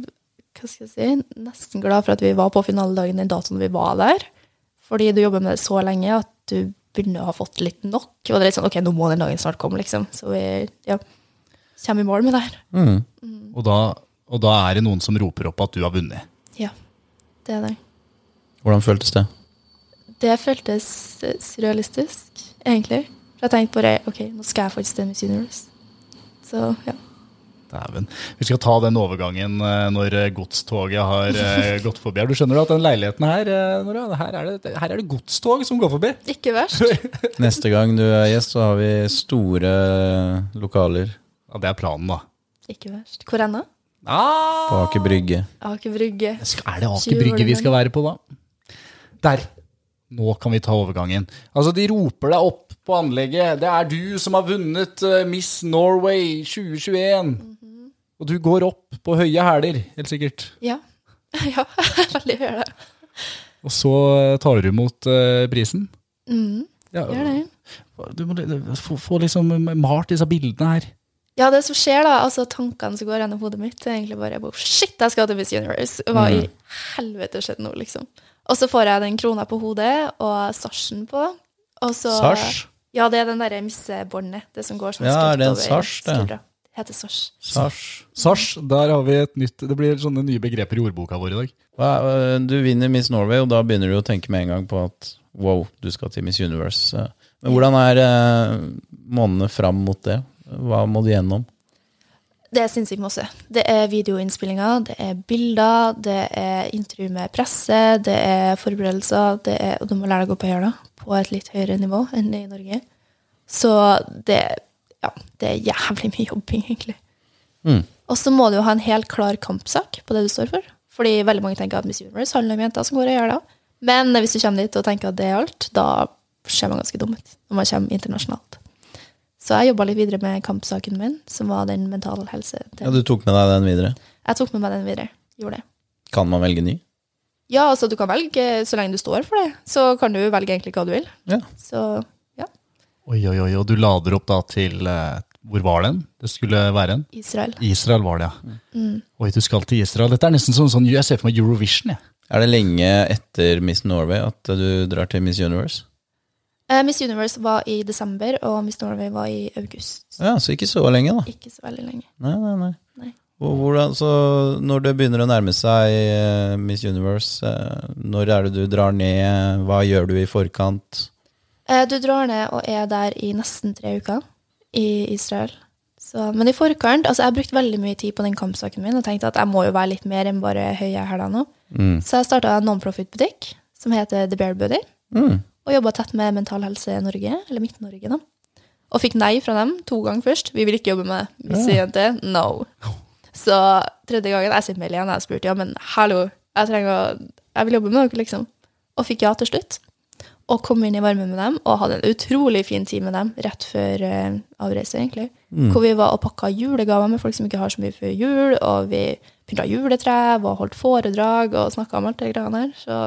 hva skal jeg si, nesten glad for at vi var på finaledagen den datoen vi var der. Fordi du jobber med det så lenge at du begynner å ha fått litt nok. Og det er litt sånn, ok, nå må den dagen snart komme, liksom. Så vi ja, kommer i mål med det her. Mm. Og da, og da er det noen som roper opp at du har vunnet. Ja, det er det. Hvordan føltes det? Det føltes eh, surrealistisk, egentlig. For jeg tenkte bare, ok, nå skal jeg faktisk til Miss Universe. Så ja. Dæven. Vi skal ta den overgangen eh, når eh, godstoget har eh, gått forbi. her. Du skjønner at den leiligheten her, eh, Nora, her er det, her er det godstog som går forbi. Ikke verst. Neste gang du er gjest, så har vi store lokaler Ja, det er planen, da. Ikke verst. Hvor ennå? på Aker Brygge. Aker Brygge. Skal- Er det Aker Brygge vi skal være på da? Der. Nå kan vi ta overgangen. Altså, de roper deg opp på anlegget. Det er du som har vunnet eh, Miss Norway 2021. Og du går opp på høye hæler, helt sikkert. Ja. ja, veldig høy er det. Og så eh, tar du imot eh, prisen. Mm, Ja, gjør det. du må li- få, få liksom malt disse bildene her. Ja, det som skjer, da, altså tankene som går gjennom hodet mitt, er egentlig bare bare, Shit, jeg skal til Miss Universe! Hva Mm. i helvete skjedde nå, liksom? Og så får jeg den krona på hodet og sarsen på, Og så, Sars? Ja, det er den derre missebåndet. Det som går sånn Ja, skrått er det en over sars, det? skuldra. Det heter sars. Sars. Sars, der har vi et nytt Det blir sånne nye begreper i ordboka vår i dag. Hva, øh, du vinner Miss Norway, og da begynner du å tenke med en gang på at wow, du skal til Miss Universe. øh. Men hvordan er øh, månedene fram mot det? Hva må du gjennom? Det er sinnssykt masse. Det er videoinnspillinger, det er bilder, det er intervju med presse, det er forberedelser, det er, og du må lære deg å gå på høyre, da, på et litt høyere nivå enn i Norge. Så det, ja, det er jævlig mye jobbing, egentlig. Mm. Og så må du jo ha en helt klar kampsak på det du står for. Fordi veldig mange tenker at Miss Universe handler om jenter som går i høyre. Men hvis du kommer dit og tenker at det er alt, da ser man ganske dum ut når man kommer internasjonalt. Så jeg jobba litt videre med kampsaken min, som var den mentale helse. Ja, du tok med deg den videre. Jeg tok med meg den videre. Gjorde det. Kan man velge ny? Ja, altså du kan velge så lenge du står for det. Så kan du velge egentlig hva du vil. Ja. Så ja, Oi, oi, oi, og du lader opp da til eh, Hvor var den? Det skulle være en? Israel. Mm. Israel var det, ja. Oi, du skal til Israel. Dette er nesten sånn, sånn jeg ser for meg Eurovision, jeg. Er det lenge etter Miss Norway at du drar til Miss Universe? Eh, Miss Universe var i desember, og Miss Norway var i august. Ja, så ikke så lenge, da. Ikke så veldig lenge. Nei, nei, nei. Nei. Og hvordan, så når det begynner å nærme seg eh, Miss Universe, eh, når er det du drar ned? Hva gjør du i forkant? Eh, Du drar ned og er der i nesten tre uker i Israel. Så, men i forkant altså Jeg har brukt veldig mye tid på den kampsaken min og tenkte at jeg må jo være litt mer enn bare høy jeg er her da nå. Mm. Så jeg starta en non-profit-butikk som heter The Bear Buddy, Mm. og jobba tett med Mental Helse Norge, eller Midt-Norge, da. Og fikk nei fra dem to ganger først. Vi vil ikke jobbe med Miss Jente. No. Så tredje gangen jeg sitter med Lene og spurte ja, men hallo, jeg trenger å Jeg vil jobbe med dere, liksom. Og fikk ja til slutt. Og kom inn i varmen med dem og hadde en utrolig fin tid med dem rett før eh, avreise, egentlig. Mm. Hvor vi var og pakka julegaver med folk som ikke har så mye før jul, og vi pynta juletre og holdt foredrag og snakka om alt det greiene der. Så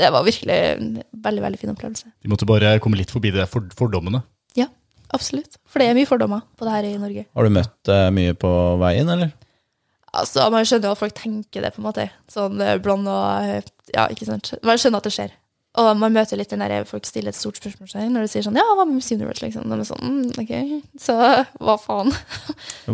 det var virkelig en veldig, veldig fin opplevelse. De måtte bare komme litt forbi det for, fordommene. Ja, absolutt. For det er mye fordommer på det her i Norge. Har du møtt eh, mye på veien, eller? Altså, Man skjønner jo at folk tenker det, på en måte. Sånn eh, blond og eh, Ja, ikke sant. Man skjønner at det skjer. Og man møter litt den der folk stiller et stort spørsmålstegn når du sier sånn Ja, hva med Miss Universe, liksom? De er sånn mm, Ok, så hva faen?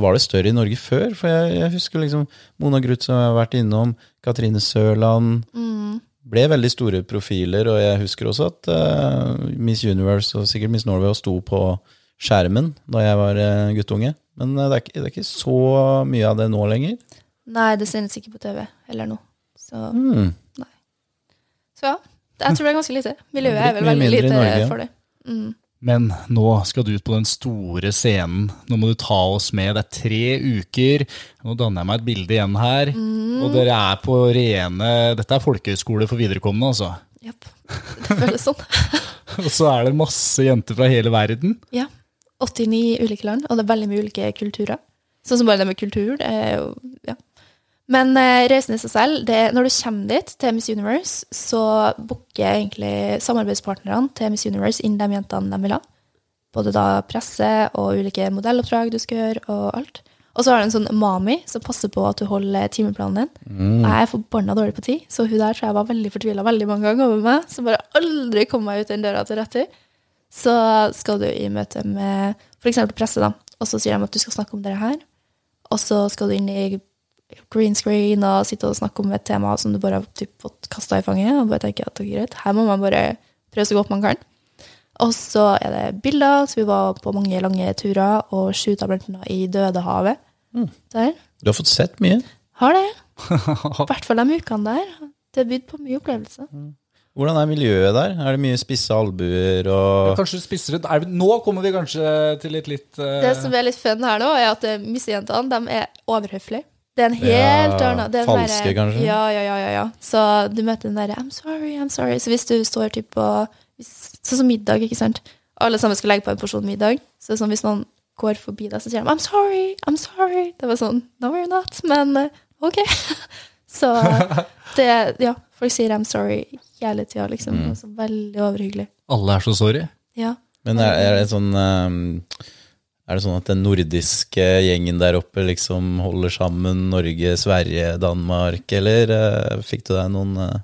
Var det større i Norge før? For jeg, jeg husker liksom Mona Gruth som jeg har vært innom, Katrine Sørland Mm. Ble veldig store profiler, og jeg husker også at eh, Miss Universe og sikkert Miss Norway sto på skjermen da jeg var eh, guttunge. Men eh, det, er ikke, det er ikke så mye av det nå lenger. Nei, det sendes ikke på TV heller nå. Så, Hmm. så ja. Jeg tror det er ganske lite. Miljøet er Det er vel blitt mye veldig mindre lite i Norge. for det. Mm. Men nå skal du ut på den store scenen. Nå må du ta oss med. Det er tre uker. Nå danner jeg meg et bilde igjen her. Og dere er på rene Dette er folkehøyskole for viderekomne, altså. Mm. Japp. Det føles sånn. Og så er det masse jenter fra hele verden. Ja. 89 ulike land, og det er veldig mye ulike kulturer. Sånn som bare det med kultur. Det er jo, ja. Men eh, reisen i seg selv det, er- Når du kommer dit, til Miss Universe, så booker egentlig samarbeidspartnerne til Miss Universe inn de jentene de vil ha. Både da presse og ulike modelloppdrag du skal gjøre, og alt. Og så har du en sånn mami som passer på at du holder timeplanen din. Mm. Jeg er forbanna dårlig på tid, så hun der tror jeg var veldig fortvila veldig mange ganger over meg. Som bare aldri kom meg ut den døra til rett tid så skal du i møte med f.eks. presse, da, og så sier de at du skal snakke om det her. Og så skal du inn i green screen og sitte og snakke om et tema som du bare har typ, fått kasta i fanget. Og bare tenker at det er greit, her må man bare prøve så godt man kan. Og så er det bilder, så vi var på mange lange turer og skjuta blant annet i Dødehavet. Der. Du har fått sett mye. Har det. I hvert fall de ukene der. Det bydde på mye opplevelser. Hvordan er miljøet der? Er det mye spisse albuer og Kanskje du spisser ut er vi, Nå kommer vi kanskje til et litt eh, Det som er litt fun her nå, er at eh, missejentene de er overhøflige. Det er en helt Ja, annen det er den falske, derre- kanskje? Ja, ja, ja, ja, ja. Så du møter den derre 'I'm sorry, I'm sorry'. Så hvis du står typ på hvis- Sånn som middag, ikke sant. Alle sammen skal legge på en porsjon middag. Så det er sånn hvis noen går forbi deg, så sier de 'I'm sorry, I'm sorry'. Det var sånn 'No, you're not', men eh, ok. Så det Ja, folk sier 'I'm sorry' hele tida, liksom. Mm. Det er så veldig overhyggelig. Alle er så sorry. Ja. Men er, er det sånn ehm, Er det sånn at den nordiske gjengen der oppe liksom holder sammen Norge, Sverige, Danmark, eller eh, fikk du deg noen, eh,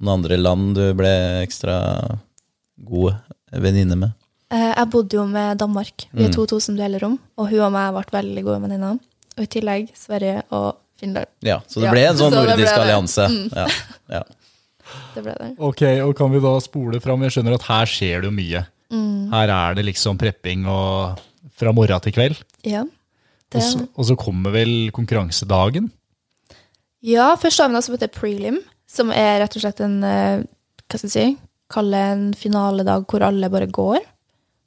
noen andre land du ble ekstra god venninne med? Eh, Jeg bodde jo med Danmark. Vi Mm. er 2000 delerom, og hun og meg ble veldig gode venninner. Og i tillegg Sverige og Finland. Ja, så det Ja, ble en sånn så det ble det. nordisk Mm. allianse. Ja, ja. Det ble det. Ok, og kan vi da spole fram? Jeg skjønner at her skjer det jo mye. Mm, Her er det liksom prepping og fra morgen til kveld. Ja. Og Det, så, og så kommer vel konkurransedagen. ja, først har vi noe som heter prelim, som er rett og slett en eh, Hva skal jeg si? Kalle en finaledag hvor alle bare går.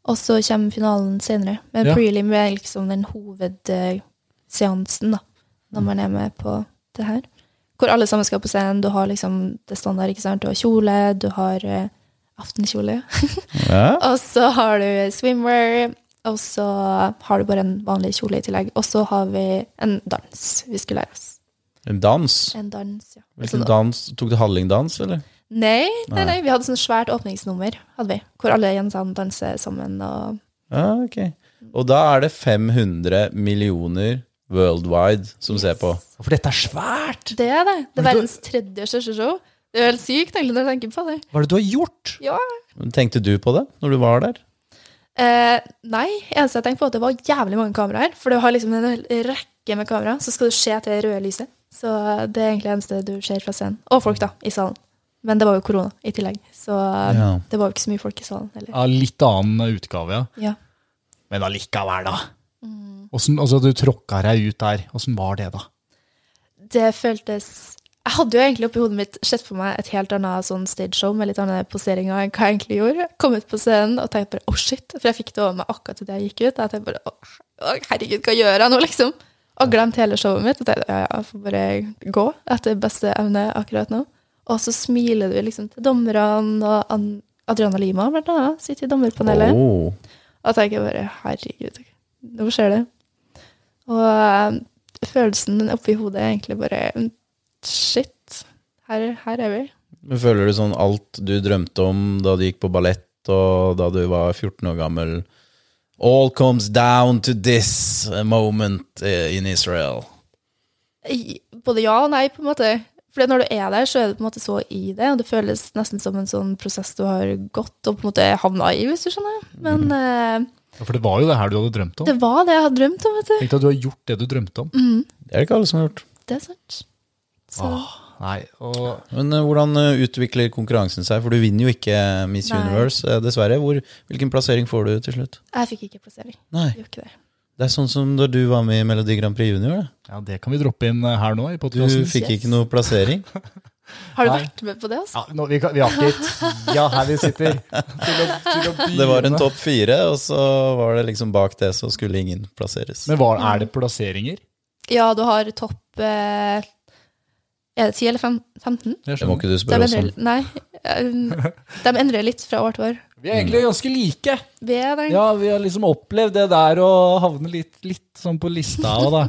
Og så kommer finalen senere. Men Ja. prelim er liksom den hovedseansen, da, når man er med på det her. Hvor alle sammen skal på scenen. Du har liksom det standard, ikke sant? Du har kjole, du har eh, aftenkjole. Ja. Og så har du swimwear, og så har du bare en vanlig kjole i tillegg. Og så har vi en dans vi skulle lære oss. En dans. En dans, ja. Hvilken Sånn- dans? Tok du hallingdans, eller? Nei, nei, Nei. nei, vi hadde sånn svært åpningsnummer, hadde vi, hvor alle jentene danser sammen. og... Ja, ok. Og da er det 500 millioner worldwide som ser på. For dette er svært! Det er det. Det er Men du- verdens tredje største show. Det er jo helt sykt egentlig når du tenker på det. Hva er det du har gjort? Ja. Tenkte du på det når du var der? Eh, nei, eneste jeg tenkte på, var at det var jævlig mange kameraer. For du har liksom en hel rekke med kameraer, så skal du se til det røde lyset. Så det er egentlig det eneste du ser fra scenen. Og folk, da, i salen. Men det var jo korona i tillegg, så Ja. det var jo ikke så mye folk i salen heller. Ja, litt annen utgave, ja. Ja. Men allikevel, da. Mm. Åssen- altså, du tråkka deg ut der. Åssen var det, da? Det føltes Jeg hadde jo egentlig oppi hodet mitt sett for meg et helt annet sånn stageshow med litt annen poseringer enn hva jeg egentlig gjorde. Kom ut på scenen og tenkte bare 'å, shit', for jeg fikk det over meg akkurat idet jeg gikk ut. Jeg tenkte bare å, å, 'herregud, hva gjør jeg nå', liksom? Og glemte hele showet mitt. Og tenkte ja, ja, jeg får bare gå etter beste evne akkurat nå. Og så smiler du liksom til dommerne, og An Adriana Lima blant annet sitter i dommerpanelet. Oh. Og tenker bare herregud, nå skjer det. Og eh, følelsen oppi hodet er egentlig bare mm, shit, her, her er vi. Men Føler du sånn alt du drømte om da du gikk på ballett, og da du var 14 år gammel All comes down to this moment eh, in Israel. I- Både ja og nei, på en måte. For når du er der, så er du på en måte så i det, og det føles nesten som en sånn prosess du har gått og på en måte havna i, hvis du skjønner. Men eh, Ja, For det var jo det her du hadde drømt om. det var Mm. det jeg hadde drømt om, vet du. Tenkte at du har gjort det du drømte om. Det er det ikke alle som har gjort. Det er sant. Så Nei, og Men eh, hvordan eh, utvikler konkurransen seg? For du vinner jo ikke Miss Nei. Universe, eh, dessverre. Hvor, hvilken plassering får du til slutt? jeg fikk ikke plassering. Nei, Jeg gjorde ikke det. Det er sånn som da du var med i Melodi Grand Prix Junior. Da. ja, det kan vi droppe inn eh, her nå i Du podkasten. fikk yes. ikke noe plassering. Har du Nei. vært med på det? altså? Ja, nå, vi, kan- vi har ikke Ja, her vi sitter. Til å, til å begynne. Det var en topp fire, og så var det liksom bak det så skulle ingen plasseres. Men hva, er det plasseringer? Ja, du har topp eh, Er det 10 eller fem- 15? Jeg Det skjønner. må ikke du De spørre oss om. endrer, nei, um, de endrer litt fra år til år. Vi er egentlig ganske like. Vi er der. Ja, vi har liksom opplevd det der og havner litt, litt sånn på lista. Og da.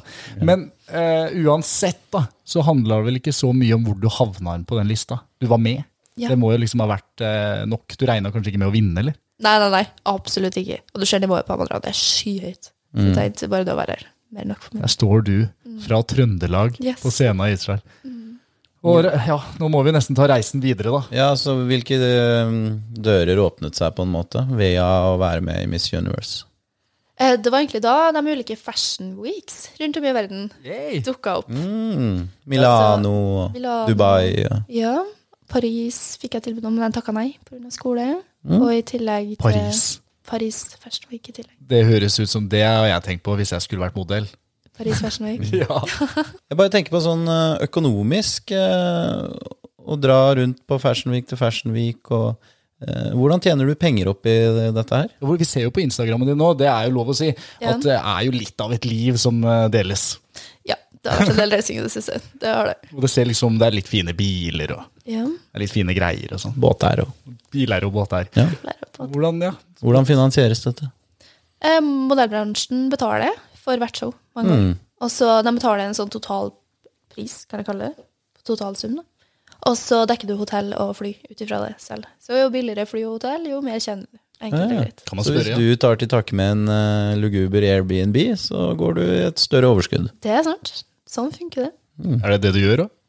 Men eh, uansett da, så handler det vel ikke så mye om hvor du havna på den lista. Du var med. Ja. Mm. Det må jo liksom ha vært eh, nok. Du regna kanskje ikke med å vinne, eller? Nei, nei, nei, absolutt ikke. Og du ser nivået på Amandra, det er skyhøyt. Mm. Så jeg tenkte bare det å være her. Mer enn nok for meg. Der står du fra Trøndelag Yes. Mm. på scenen i Israel. Og ja, nå må vi nesten ta reisen videre, da. Ja, så hvilke eh, dører åpnet seg på en måte ved å være med i Miss Universe? Eh, Det var egentlig da de ulike fashion weeks rundt om i verden dukka opp. Mm. Milano, Altså, Milano. Dubai ja. Ja, Paris fikk jeg tilbud om, men jeg takka nei pga. skole. Mm. Og i tillegg til Paris. Paris Fashion Week. i tillegg. Det høres ut som det har jeg tenkt på hvis jeg skulle vært modell. Paris Fashion Week. Ja. Jeg bare tenker på sånn eh, økonomisk eh, Å dra rundt på Fashion Week til Fashion Week og eh, Hvordan tjener du penger opp i dette her? Hvor Vi ser jo på Instagrammen din nå, det er jo lov å si, Ja. at det er jo litt av et liv som eh, deles. Ja, det har vært en del racing i det siste. Det har det. Og det ser liksom, det er litt fine biler og Ja, det er litt fine greier og sånn. Båteier og Biler og båter. Ja. lærer på. Hvordan, ja? Hvordan finansieres dette? Eh, modellbransjen betaler for hvert show. Mange ganger. Mm. Og så de betaler en sånn totalpris, kan jeg kalle det. Totalsum, da. Og så dekker du hotell og fly ut ifra det selv. Så jo billigere fly og hotell, jo mer kjenner du. Enkelt og Ja, ja. greit. Kan man så hvis spørre, ja. du tar til takke med en eh, luguber Airbnb, så går du i et større overskudd. Det er sant. Sånn funker det. Er det det du gjør òg?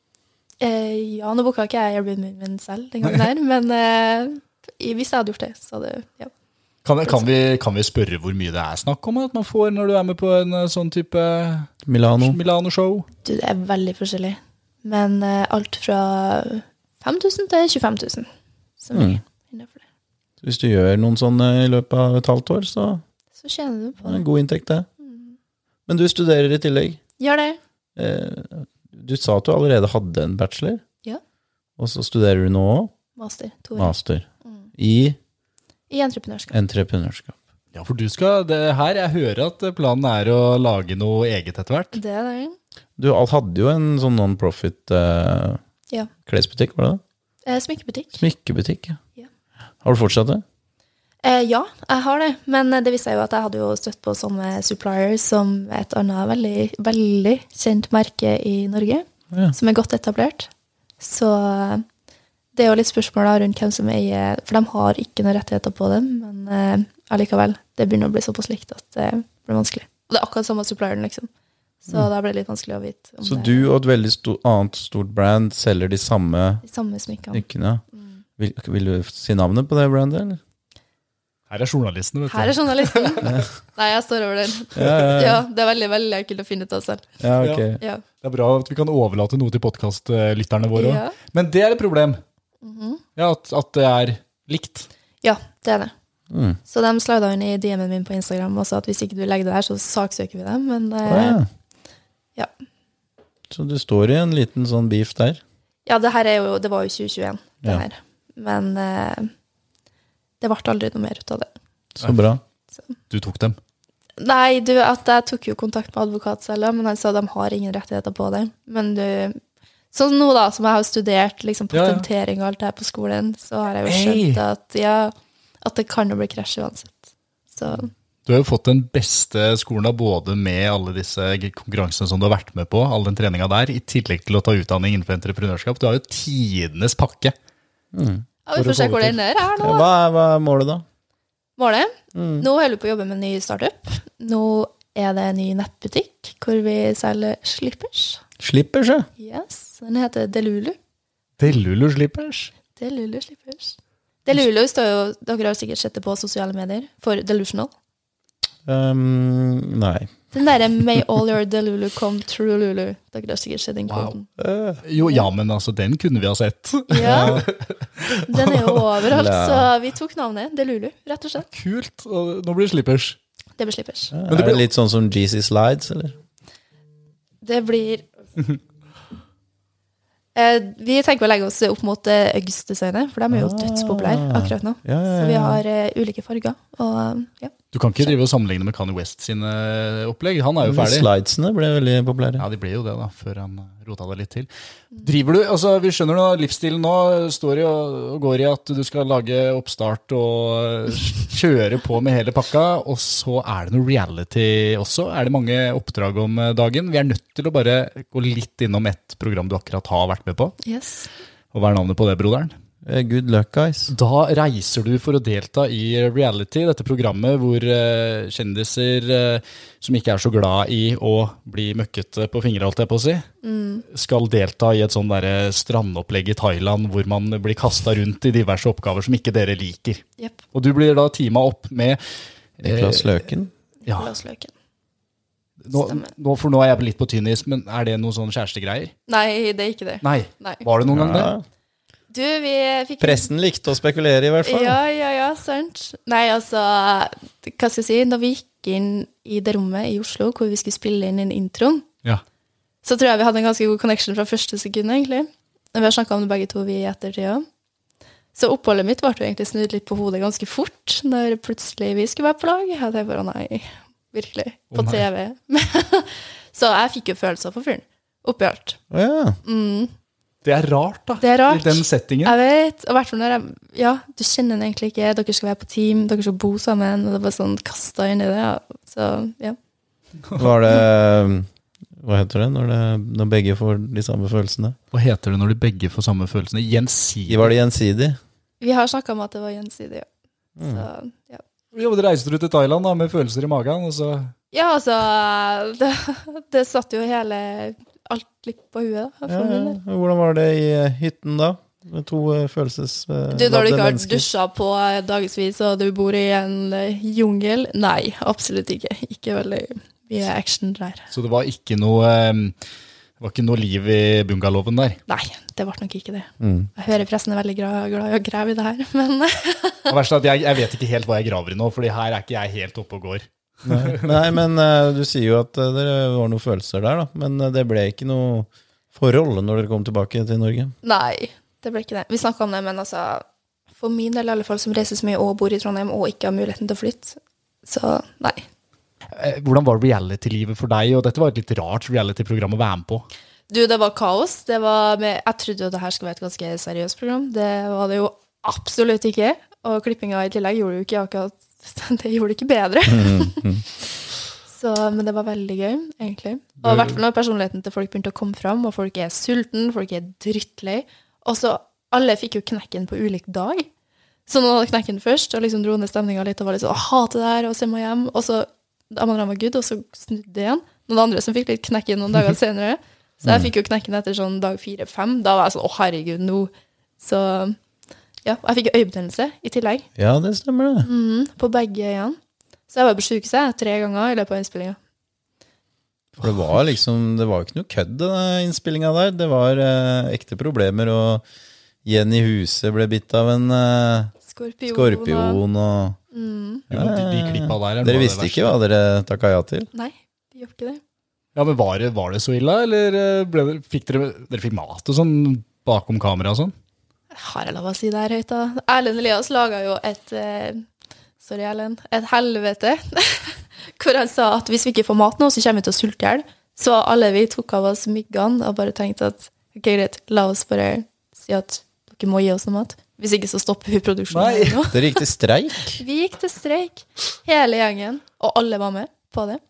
Eh, ja, nå booka ikke jeg Airbnb-en min selv den gangen her, men eh, I- Hvis jeg hadde gjort det, så hadde ja. Kan, kan, vi, kan vi spørre hvor mye det er snakk om at man får når du er med på en eh, sånn type Milano. Milano-show? Du, det er veldig forskjellig. Men eh, alt fra 5000 til 25 000. Som Mm. er innenfor det. Hvis du gjør noen sånne i løpet av et halvt år, så Så tjener du på er det. det Mm. en god inntekt, det. Men du studerer i tillegg. Gjør det. Eh, Du sa at du allerede hadde en bachelor. Ja. Og så studerer du nå òg, Master. To år. master, Mm. i I entreprenørskap. entreprenørskap. Ja, for du skal det her, Jeg hører at eh, planen er å lage noe eget etter hvert. Det er det. Du Al hadde jo en sånn non-profit eh, Ja. klesbutikk, var det det? Eh, smykkebutikk. Smykkebutikk, Ja. Har du fortsatt det? Eh, ja, jeg har det. Men eh, det viste seg jo at jeg hadde jo støtt på sånne suppliers som et annet veldig, veldig kjent merke i Norge, Ja. som er godt etablert. Så eh, det er jo litt spørsmål da rundt hvem som eier For de har ikke noen rettigheter på dem, men eh, allikevel. Det begynner å bli såpass likt at det blir vanskelig. Og det er akkurat samme supplieren, liksom. Så da blir det litt vanskelig å vite om Mm. Så det du og et veldig sto- annet stort brand selger de samme er de samme smykkene. Mm. smykkene. Vil, vil du si navnet på det brandet, eller? Her er journalistene, vet du. Her er journalisten. Nei, jeg står over den. Ja, ja, Ja, ja. det er veldig, veldig kult å finne ut av selv. Ja, ok. Ja. Det er bra at vi kan overlate noe til podkastlytterne våre òg. Ja. Mhm. Men det er et problem. Ja, at, at det er likt. ja, det er det. Mm. Så de slida inn i DM-en min på Instagram og sa at hvis ikke du legger det der, så saksøker vi dem. Men eh, Å, ja. ja. Så du står i en liten sånn beef der. ja, det her er jo Det var jo 2021, det Ja. her. Men eh, det ble aldri noe mer ut av det. Så bra. Du tok dem. Nei, du, at jeg tok jo kontakt med advokat selv, men han sa de har ingen rettigheter på det. Men du Sånn nå, da, som jeg har studert liksom Ja, ja. patentering og alt det her på skolen, så har jeg jo Hey. skjønt at, ja, at det kan jo bli krasj uansett. Så Du har jo fått den beste skolen av både med alle disse g- konkurransene som du har vært med på, all den treninga der, i tillegg til å ta utdanning innenfor entreprenørskap. Du har jo tidenes pakke. ja, vi får se hvor det ender her nå. Ja, da. hva, er, hva er målet, da? Målet? Nå holder vi på å jobbe med en ny startup. Nå er det en ny nettbutikk hvor vi selger slippers. Slipper seg. Yes, Den heter Delulu. Delulu slippers. Delulu slippers. Delulu står jo, dere har sikkert sett det på sosiale medier, for delusional. Um, nei. Den derre May all your Delulu come true Lulu. Dere har sikkert sett den Wow. koden. Eh, Jo, ja, men altså, den kunne vi ha sett. Ja. Den er jo overalt, Ja. så vi tok navnet Delulu, rett og slett. Kult. og Nå blir det slippers. Det blir slippers. er det litt sånn som GC Slides, eller? Det blir eh, Vi tenker å legge oss opp mot eh, Uggs-designet, for de er jo Ah. dødspopulære akkurat nå. Ja, ja, Så vi ja. har eh, ulike farger. Og eh, ja. Du kan ikke drive og sammenligne med Kanye West sine eh, opplegg. Han er jo ferdig. Slidesene ble veldig populære. Ja, de ble jo det, da, før han rota det litt til. Driver du, altså Vi skjønner nå, livsstilen nå eh, står i og og går i at du skal lage oppstart og eh, kjøre på med hele pakka, og så er det noe reality også. Er det mange oppdrag om eh, dagen? Vi er nødt til å bare gå litt innom et program du akkurat har vært med på. Yes. Og hva er navnet på det, broderen? Eh, Good luck, guys. Da reiser du for å delta i reality, dette programmet hvor eh, kjendiser eh, som ikke er så glad i å bli møkkete på fingra, holdt jeg på å si, Mm. skal delta i et sånn derre strandopplegg i Thailand hvor man blir kasta rundt i diverse oppgaver som ikke dere liker. Jepp. Og du blir da teama opp med eh, Niklas Løken. ja, Nicolas Løken. nå, nå, For nå er jeg litt på tynn is, men er det noen sånn kjærestegreier? Nei, det er ikke det. Nei. Nei. Var det noen gang det? Ja. Du, vi fikk Pressen likte å spekulere, i hvert fall. Ja, ja, ja, sant. Nei, altså, hva skal jeg si? Når vi gikk inn i det rommet i Oslo hvor vi skulle spille inn den introen, Ja. så tror jeg vi hadde en ganske god connection fra første sekund, egentlig. Men vi har snakka om det begge to, vi i ettertid òg. Så oppholdet mitt ble jo egentlig snudd litt på hodet ganske fort, når plutselig vi skulle være på lag. Jeg tenkte bare nei, virkelig. På Å, nei. TV. så jeg fikk jo følelser for fyren. Oppi alt. Å, ja. Det er rart, da. Det er rart. I den settingen. Jeg vet. Og i hvert fall når jeg Ja, du kjenner den egentlig ikke. Dere skal være på team, dere skal bo sammen. Og det er bare sånn kasta inn i det. ja. Så ja. Var det um, Hva heter det når, det når begge får de samme følelsene? Hva heter det når de begge får samme følelsene? Gjensidig? Var det gjensidig? Vi har snakka om at det var gjensidig, ja. Mm. Så ja. Ja, men Reiser du til Thailand da, med følelser i magen, og så Ja, altså Det, det satt jo hele Alt litt på huet, da, for Ja, min ja. del. Hvordan var det i eh, hytten da? eh, Med to følelsesladde Du, når du ikke har mennesker. dusja på eh, dagevis, og du bor i en eh, jungel Nei, absolutt ikke. Ikke veldig mye action der. Så det var ikke noe eh, det var ikke noe liv i bungalowen der. Nei, det ble nok ikke det. Mm. Jeg hører pressen er veldig glad, glad i å grave i det her, men Det verste er at jeg, jeg vet ikke helt hva jeg graver i nå, fordi her er ikke jeg helt oppe og går. Nei, men eh, du sier jo at eh, dere var noen følelser der, da. Men eh, det ble ikke noe forhold når dere kom tilbake til Norge. Nei, det ble ikke det. Vi snakka om det, men altså For min del, i alle fall, som reiser så mye og bor i Trondheim og ikke har muligheten til å flytte, så nei. Eh, Hvordan var reality-livet for deg? Og dette var et litt rart reality-program å være med på. Du, det var kaos. Det var med, jeg trodde jo det her skulle være et ganske seriøst program. Det var det jo absolutt ikke. Og klippinga i tillegg gjorde jo ikke akkurat Det gjorde det ikke bedre. Så, men det var veldig gøy, egentlig. Og i hvert fall når personligheten til folk begynte å komme fram, og folk er sulten, folk er drittlei. Og så alle fikk jo knekken på ulik dag. Så noen hadde knekken først, og liksom dro ned stemninga litt og var litt sånn 'Å, hate det her', og se meg hjem. Og så Amanda var good, og så snudde det igjen. Noen andre som fikk litt knekken noen dager senere. Så jeg fikk jo knekken etter sånn dag fire-fem. Da var jeg sånn 'Å, herregud, nå'. Så ja. Og jeg fikk jo øyebetennelse i tillegg, Ja, det stemmer det. på begge øynene. Så jeg var på sjukehuset tre ganger i løpet av innspillinga. For det var liksom, det var jo ikke noe kødd, den innspillinga der. Det var eh, ekte problemer, og Jenny Huse ble bitt av en eh, Skorpion. Mm. og- skorpion, og Jo, de, de klippa der er noe av Dere det visste verste. ikke hva dere takka ja til? Nei, de gjorde ikke det. Ja, men var det, var det så ille, eller eh, ble det, fikk dere, dere fikk mat og sånn bakom kamera og sånn? Har jeg lov å si det her høyt, da? Erlend Elias laga jo et eh, Sorry, Erlend. Et helvete. Hvor han sa at hvis vi ikke får mat nå, så kommer vi til å sulte i hjel. Så alle vi tok av oss miggene og bare tenkte at ok, greit, la oss bare si at dere må gi oss noe mat. Hvis ikke så stopper vi Nei. produksjonen. nå. Dere gikk til streik? Vi gikk til streik, hele gjengen, og alle var med på det.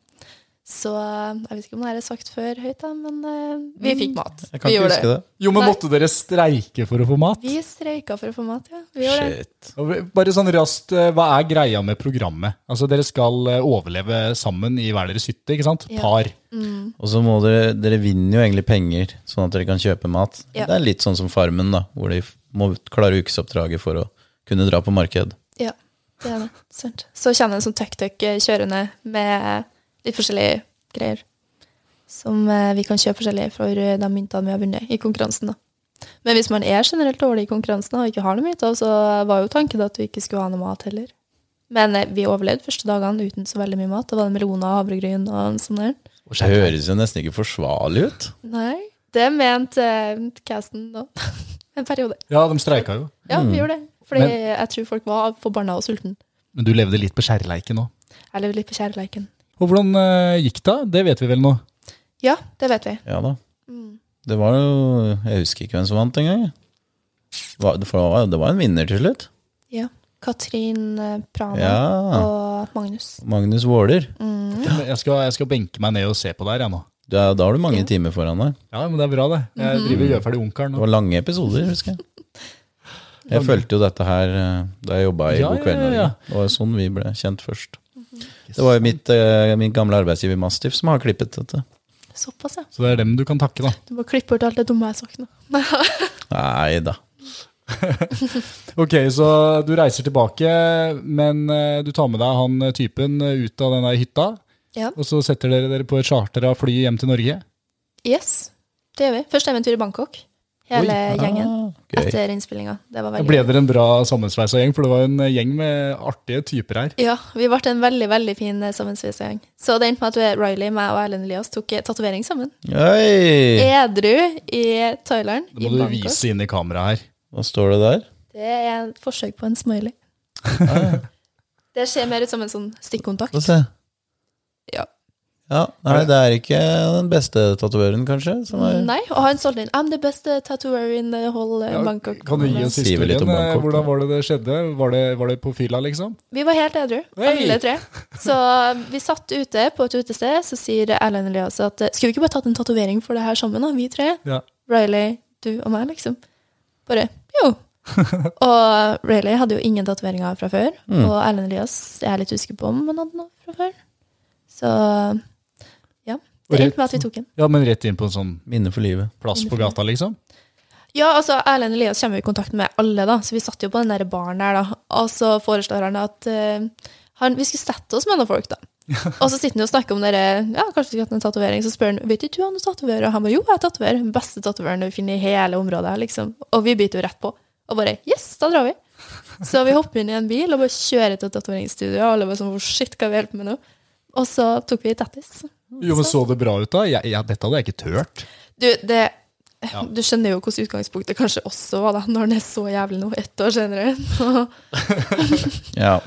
Så eh, jeg vet ikke om det her er sagt før høyt, da, men eh, vi fikk mat. Jeg kan vi ikke gjorde huske det. Jo, men Nei. måtte dere streike for å få mat? Vi streika for å få mat, ja. Vi gjorde det. Shit. Og Bare sånn raskt, eh, hva er greia med programmet? Altså, dere skal eh, overleve sammen i hver deres hytte, ikke sant? Ja. Par. Og så må dere Dere vinner jo egentlig penger, sånn at dere kan kjøpe mat. Ja. Det er litt sånn som Farmen, da, hvor de må klare ukesoppdraget for å kunne dra på marked. Ja, det er det. Sant. Så kommer det en sånn tuk-tuk kjørende med litt forskjellige greier. Som eh, vi kan kjøpe forskjellig for eh, de myntene vi har vunnet i konkurransen. Da. Men hvis man er generelt dårlig i konkurransen og ikke har noen mynter, så var jo tanken at vi ikke skulle ha noe mat heller. Men eh, vi overlevde første dagene uten så veldig mye mat. Da var det meloner og havregryn og sånn der. Det høres jo nesten ikke forsvarlig ut. Nei, det mente eh, casten da. en periode. Ja, de streika jo. Ja, vi gjorde det. Fordi Men- jeg tror folk var forbanna og sulten. Men du levde litt på skjærleiken òg. Jeg levde litt på kjærleiken. Og hvordan eh, gikk det? Det vet vi vel nå. Ja, det vet vi. Ja da. Mm. Det var jo Jeg husker ikke hvem som vant engang. Det var, det var- det var en vinner til slutt. Ja. Katrin eh, Prana Ja. og Magnus. Magnus Waaler. Mm. Mm. Jeg skal, jeg skal benke meg ned og se på det her, jeg nå. Du er- Da har du mange timer foran deg. Ja, men det er bra, det. Mhm. Jeg driver og gjør ferdig onkelen. Det nå. var lange episoder, husker jeg. Jeg fulgte jo dette her eh, da jeg jobba i Ja, God kveld, ja, ja, Norge. ja. Det var jo sånn vi ble kjent først. Det var jo mitt, eh, min gamle arbeidsgiver Mastiff som har klippet dette. Såpass, ja. Så det er dem du kan takke, da. Du må klippe bort alt det dumme jeg har sagt nå. Nei da. Ok, så du reiser tilbake, men eh, du tar med deg han eh, typen eh, ut av den der hytta. Ja. Og så setter dere dere på et charter av fly hjem til Norge. Yes, det gjør vi. Første eventyr i Bangkok. Hele gjengen. Ah, gøy. Etter innspillinga. Det var veldig Ble dere en bra sammensveisa gjeng? For det var jo en gjeng med artige typer her. Ja, vi ble en veldig veldig fin eh, sammensveisa gjeng. Så det endte med at vi- Riley, meg og Erlend Elias tok eh, tatovering sammen. Eh. Oi! Edru i Thailand. Det I må du Bangkok. vise inn i kameraet her. Hva står det der? Det er et forsøk på en smiley. det ser mer ut som en sånn Få stikkontakt. se. Ja. Ja, nei, det er ikke den beste tatovøren, kanskje? Som er Nei, og han solgte inn 'I'm the best eh, tattooer in the whole eh, Ja, Bangkok'. Kan du gi oss Skrive historien? litt om eh, Bangkok, da. Hvordan var det det skjedde? Var det, var det på fylla, liksom? Vi var helt edru, Hei! alle tre. Så eh, vi satt ute på et utested, så sier Erlend Elias at eh, skulle vi ikke bare tatt en tatovering for det her sammen, da, vi tre? Ja. Riley, du og meg, liksom. Bare jo. og eh, Riley hadde jo ingen tatoveringer fra før, og Erlend Elias jeg er litt usikker på om han hadde noe fra før. Så ja. Og Det rett- endte med at vi tok den. ja, men rett inn på en sånn Minne for livet. plass på gata, liksom? Ja, altså Erlend Elias kommer jo i kontakt med alle, da, så vi satt jo på den der baren der, da. Og så foreslår han at eh, han, vi skulle sette oss med noen folk, da. og så sitter han jo og snakker om dere, ja, kanskje vi skulle hatt en tatovering. Så spør han vet ikke du han tatoverer, og han bare jo, jeg tatoverer. Den beste tatoveren du finner i hele området. her, liksom. Og vi biter jo rett på. Og bare yes, da drar vi. Så vi hopper inn i en bil og bare kjører til tatoveringsstudioet. Og alle bare sånn, shit, hva vi hjelper med nå? Og så tok vi tattis. Jo, men Så det bra ut, da? Jeg, jeg, dette hadde jeg ikke turt. Du, det, du skjønner jo hvordan utgangspunktet kanskje også var, da, når den er så jævlig nå, ett år senere. Så, Ja.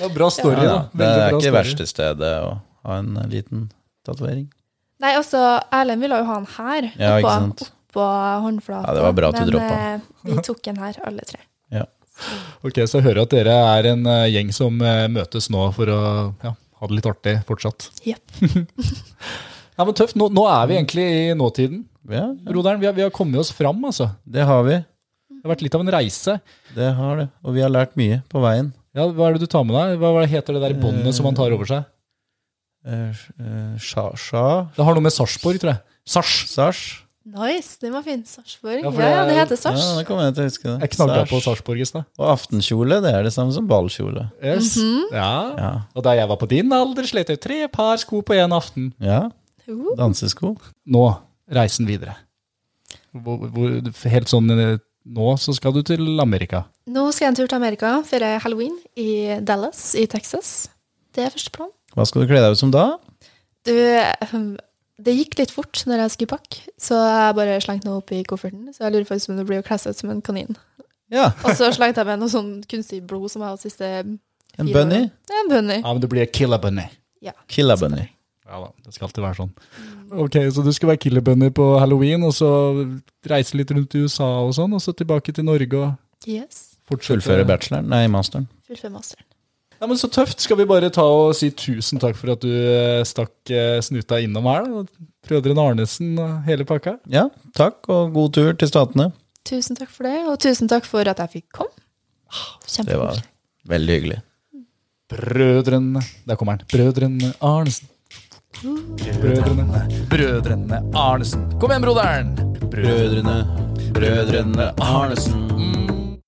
Ja, bra story, Ja, da. Veldig det er bra ikke story. verste stedet å ha en liten tatovering. nei, altså, Erlend ville jo ha den her, Ja, ikke sant. oppå håndflata. Ja, det var bra at du men, droppa. eh, vi tok den her, alle tre. Ok, Så jeg hører at dere er en eh, gjeng som eh, møtes nå for å ja, ha det litt artig fortsatt. Jepp. ja, men tøft. Nå, nå er vi egentlig i nåtiden. Ja, Roderen, vi har, vi har kommet oss fram, altså. det har vi. Det har vært litt av en reise. Det har det. Og vi har lært mye på veien. Ja, Hva er det du tar med deg? Hva hva heter det der båndet som han tar over seg? Eh, eh, Sja, sja, Det har noe med Sarpsborg, tror jeg. Sars. sars. Nice, den var fin. Sarpsborg. Ja, Ja, for ja, det- det heter Sars. Ja, det kommer jeg til å huske. det. Jeg knagga Sars. på Sarpsborg i stad. Og aftenkjole, det er det samme som ballkjole. Yes. ja. Ja. Og da jeg var på din alder, slet jeg tre par sko på én aften. ja. Jo. Dansesko. Nå, reisen videre. Hvor, hvor, helt sånn eh, nå så skal du til Amerika. Nå skal jeg en tur til Amerika, feire halloween i Dallas i Texas. Det er første plan. Hva skal du kle deg ut som da? Du, ehm, det gikk litt fort når jeg skulle pakke, så jeg bare slengte noe opp i kofferten. Så jeg lurer faktisk om det blir å kle seg ut som en kanin. Ja, Og så slengte jeg med noe sånn kunstig blod som jeg har hatt siste en fire bunny. årene. Det er en Ah. bunny. Ja, men det blir killer bunny. Killa bunny. Ja da, det skal alltid være sånn. Ok, så du skal være killer bunny på halloween, og så reise litt rundt i USA og sånn, og så tilbake til Norge og Yes. fortsette. Fullføre bacheloren, nei, masteren. Fullfør masteren. Ja, men Så tøft. Skal vi bare ta og si tusen takk for at du eh, stakk eh, snuta innom her? da? Brødrene Arnesen og hele pakka? Ja, takk, og god tur til Statene. Tusen takk for det, og tusen takk for at jeg fikk komme. Det var Kjempekoselig. veldig hyggelig. Brødrene Der kommer han. Brødrene Arnesen. Brødrene Brødrene Arnesen. Kom igjen, broderen! Brødrene, brødrene Arnesen. Mm.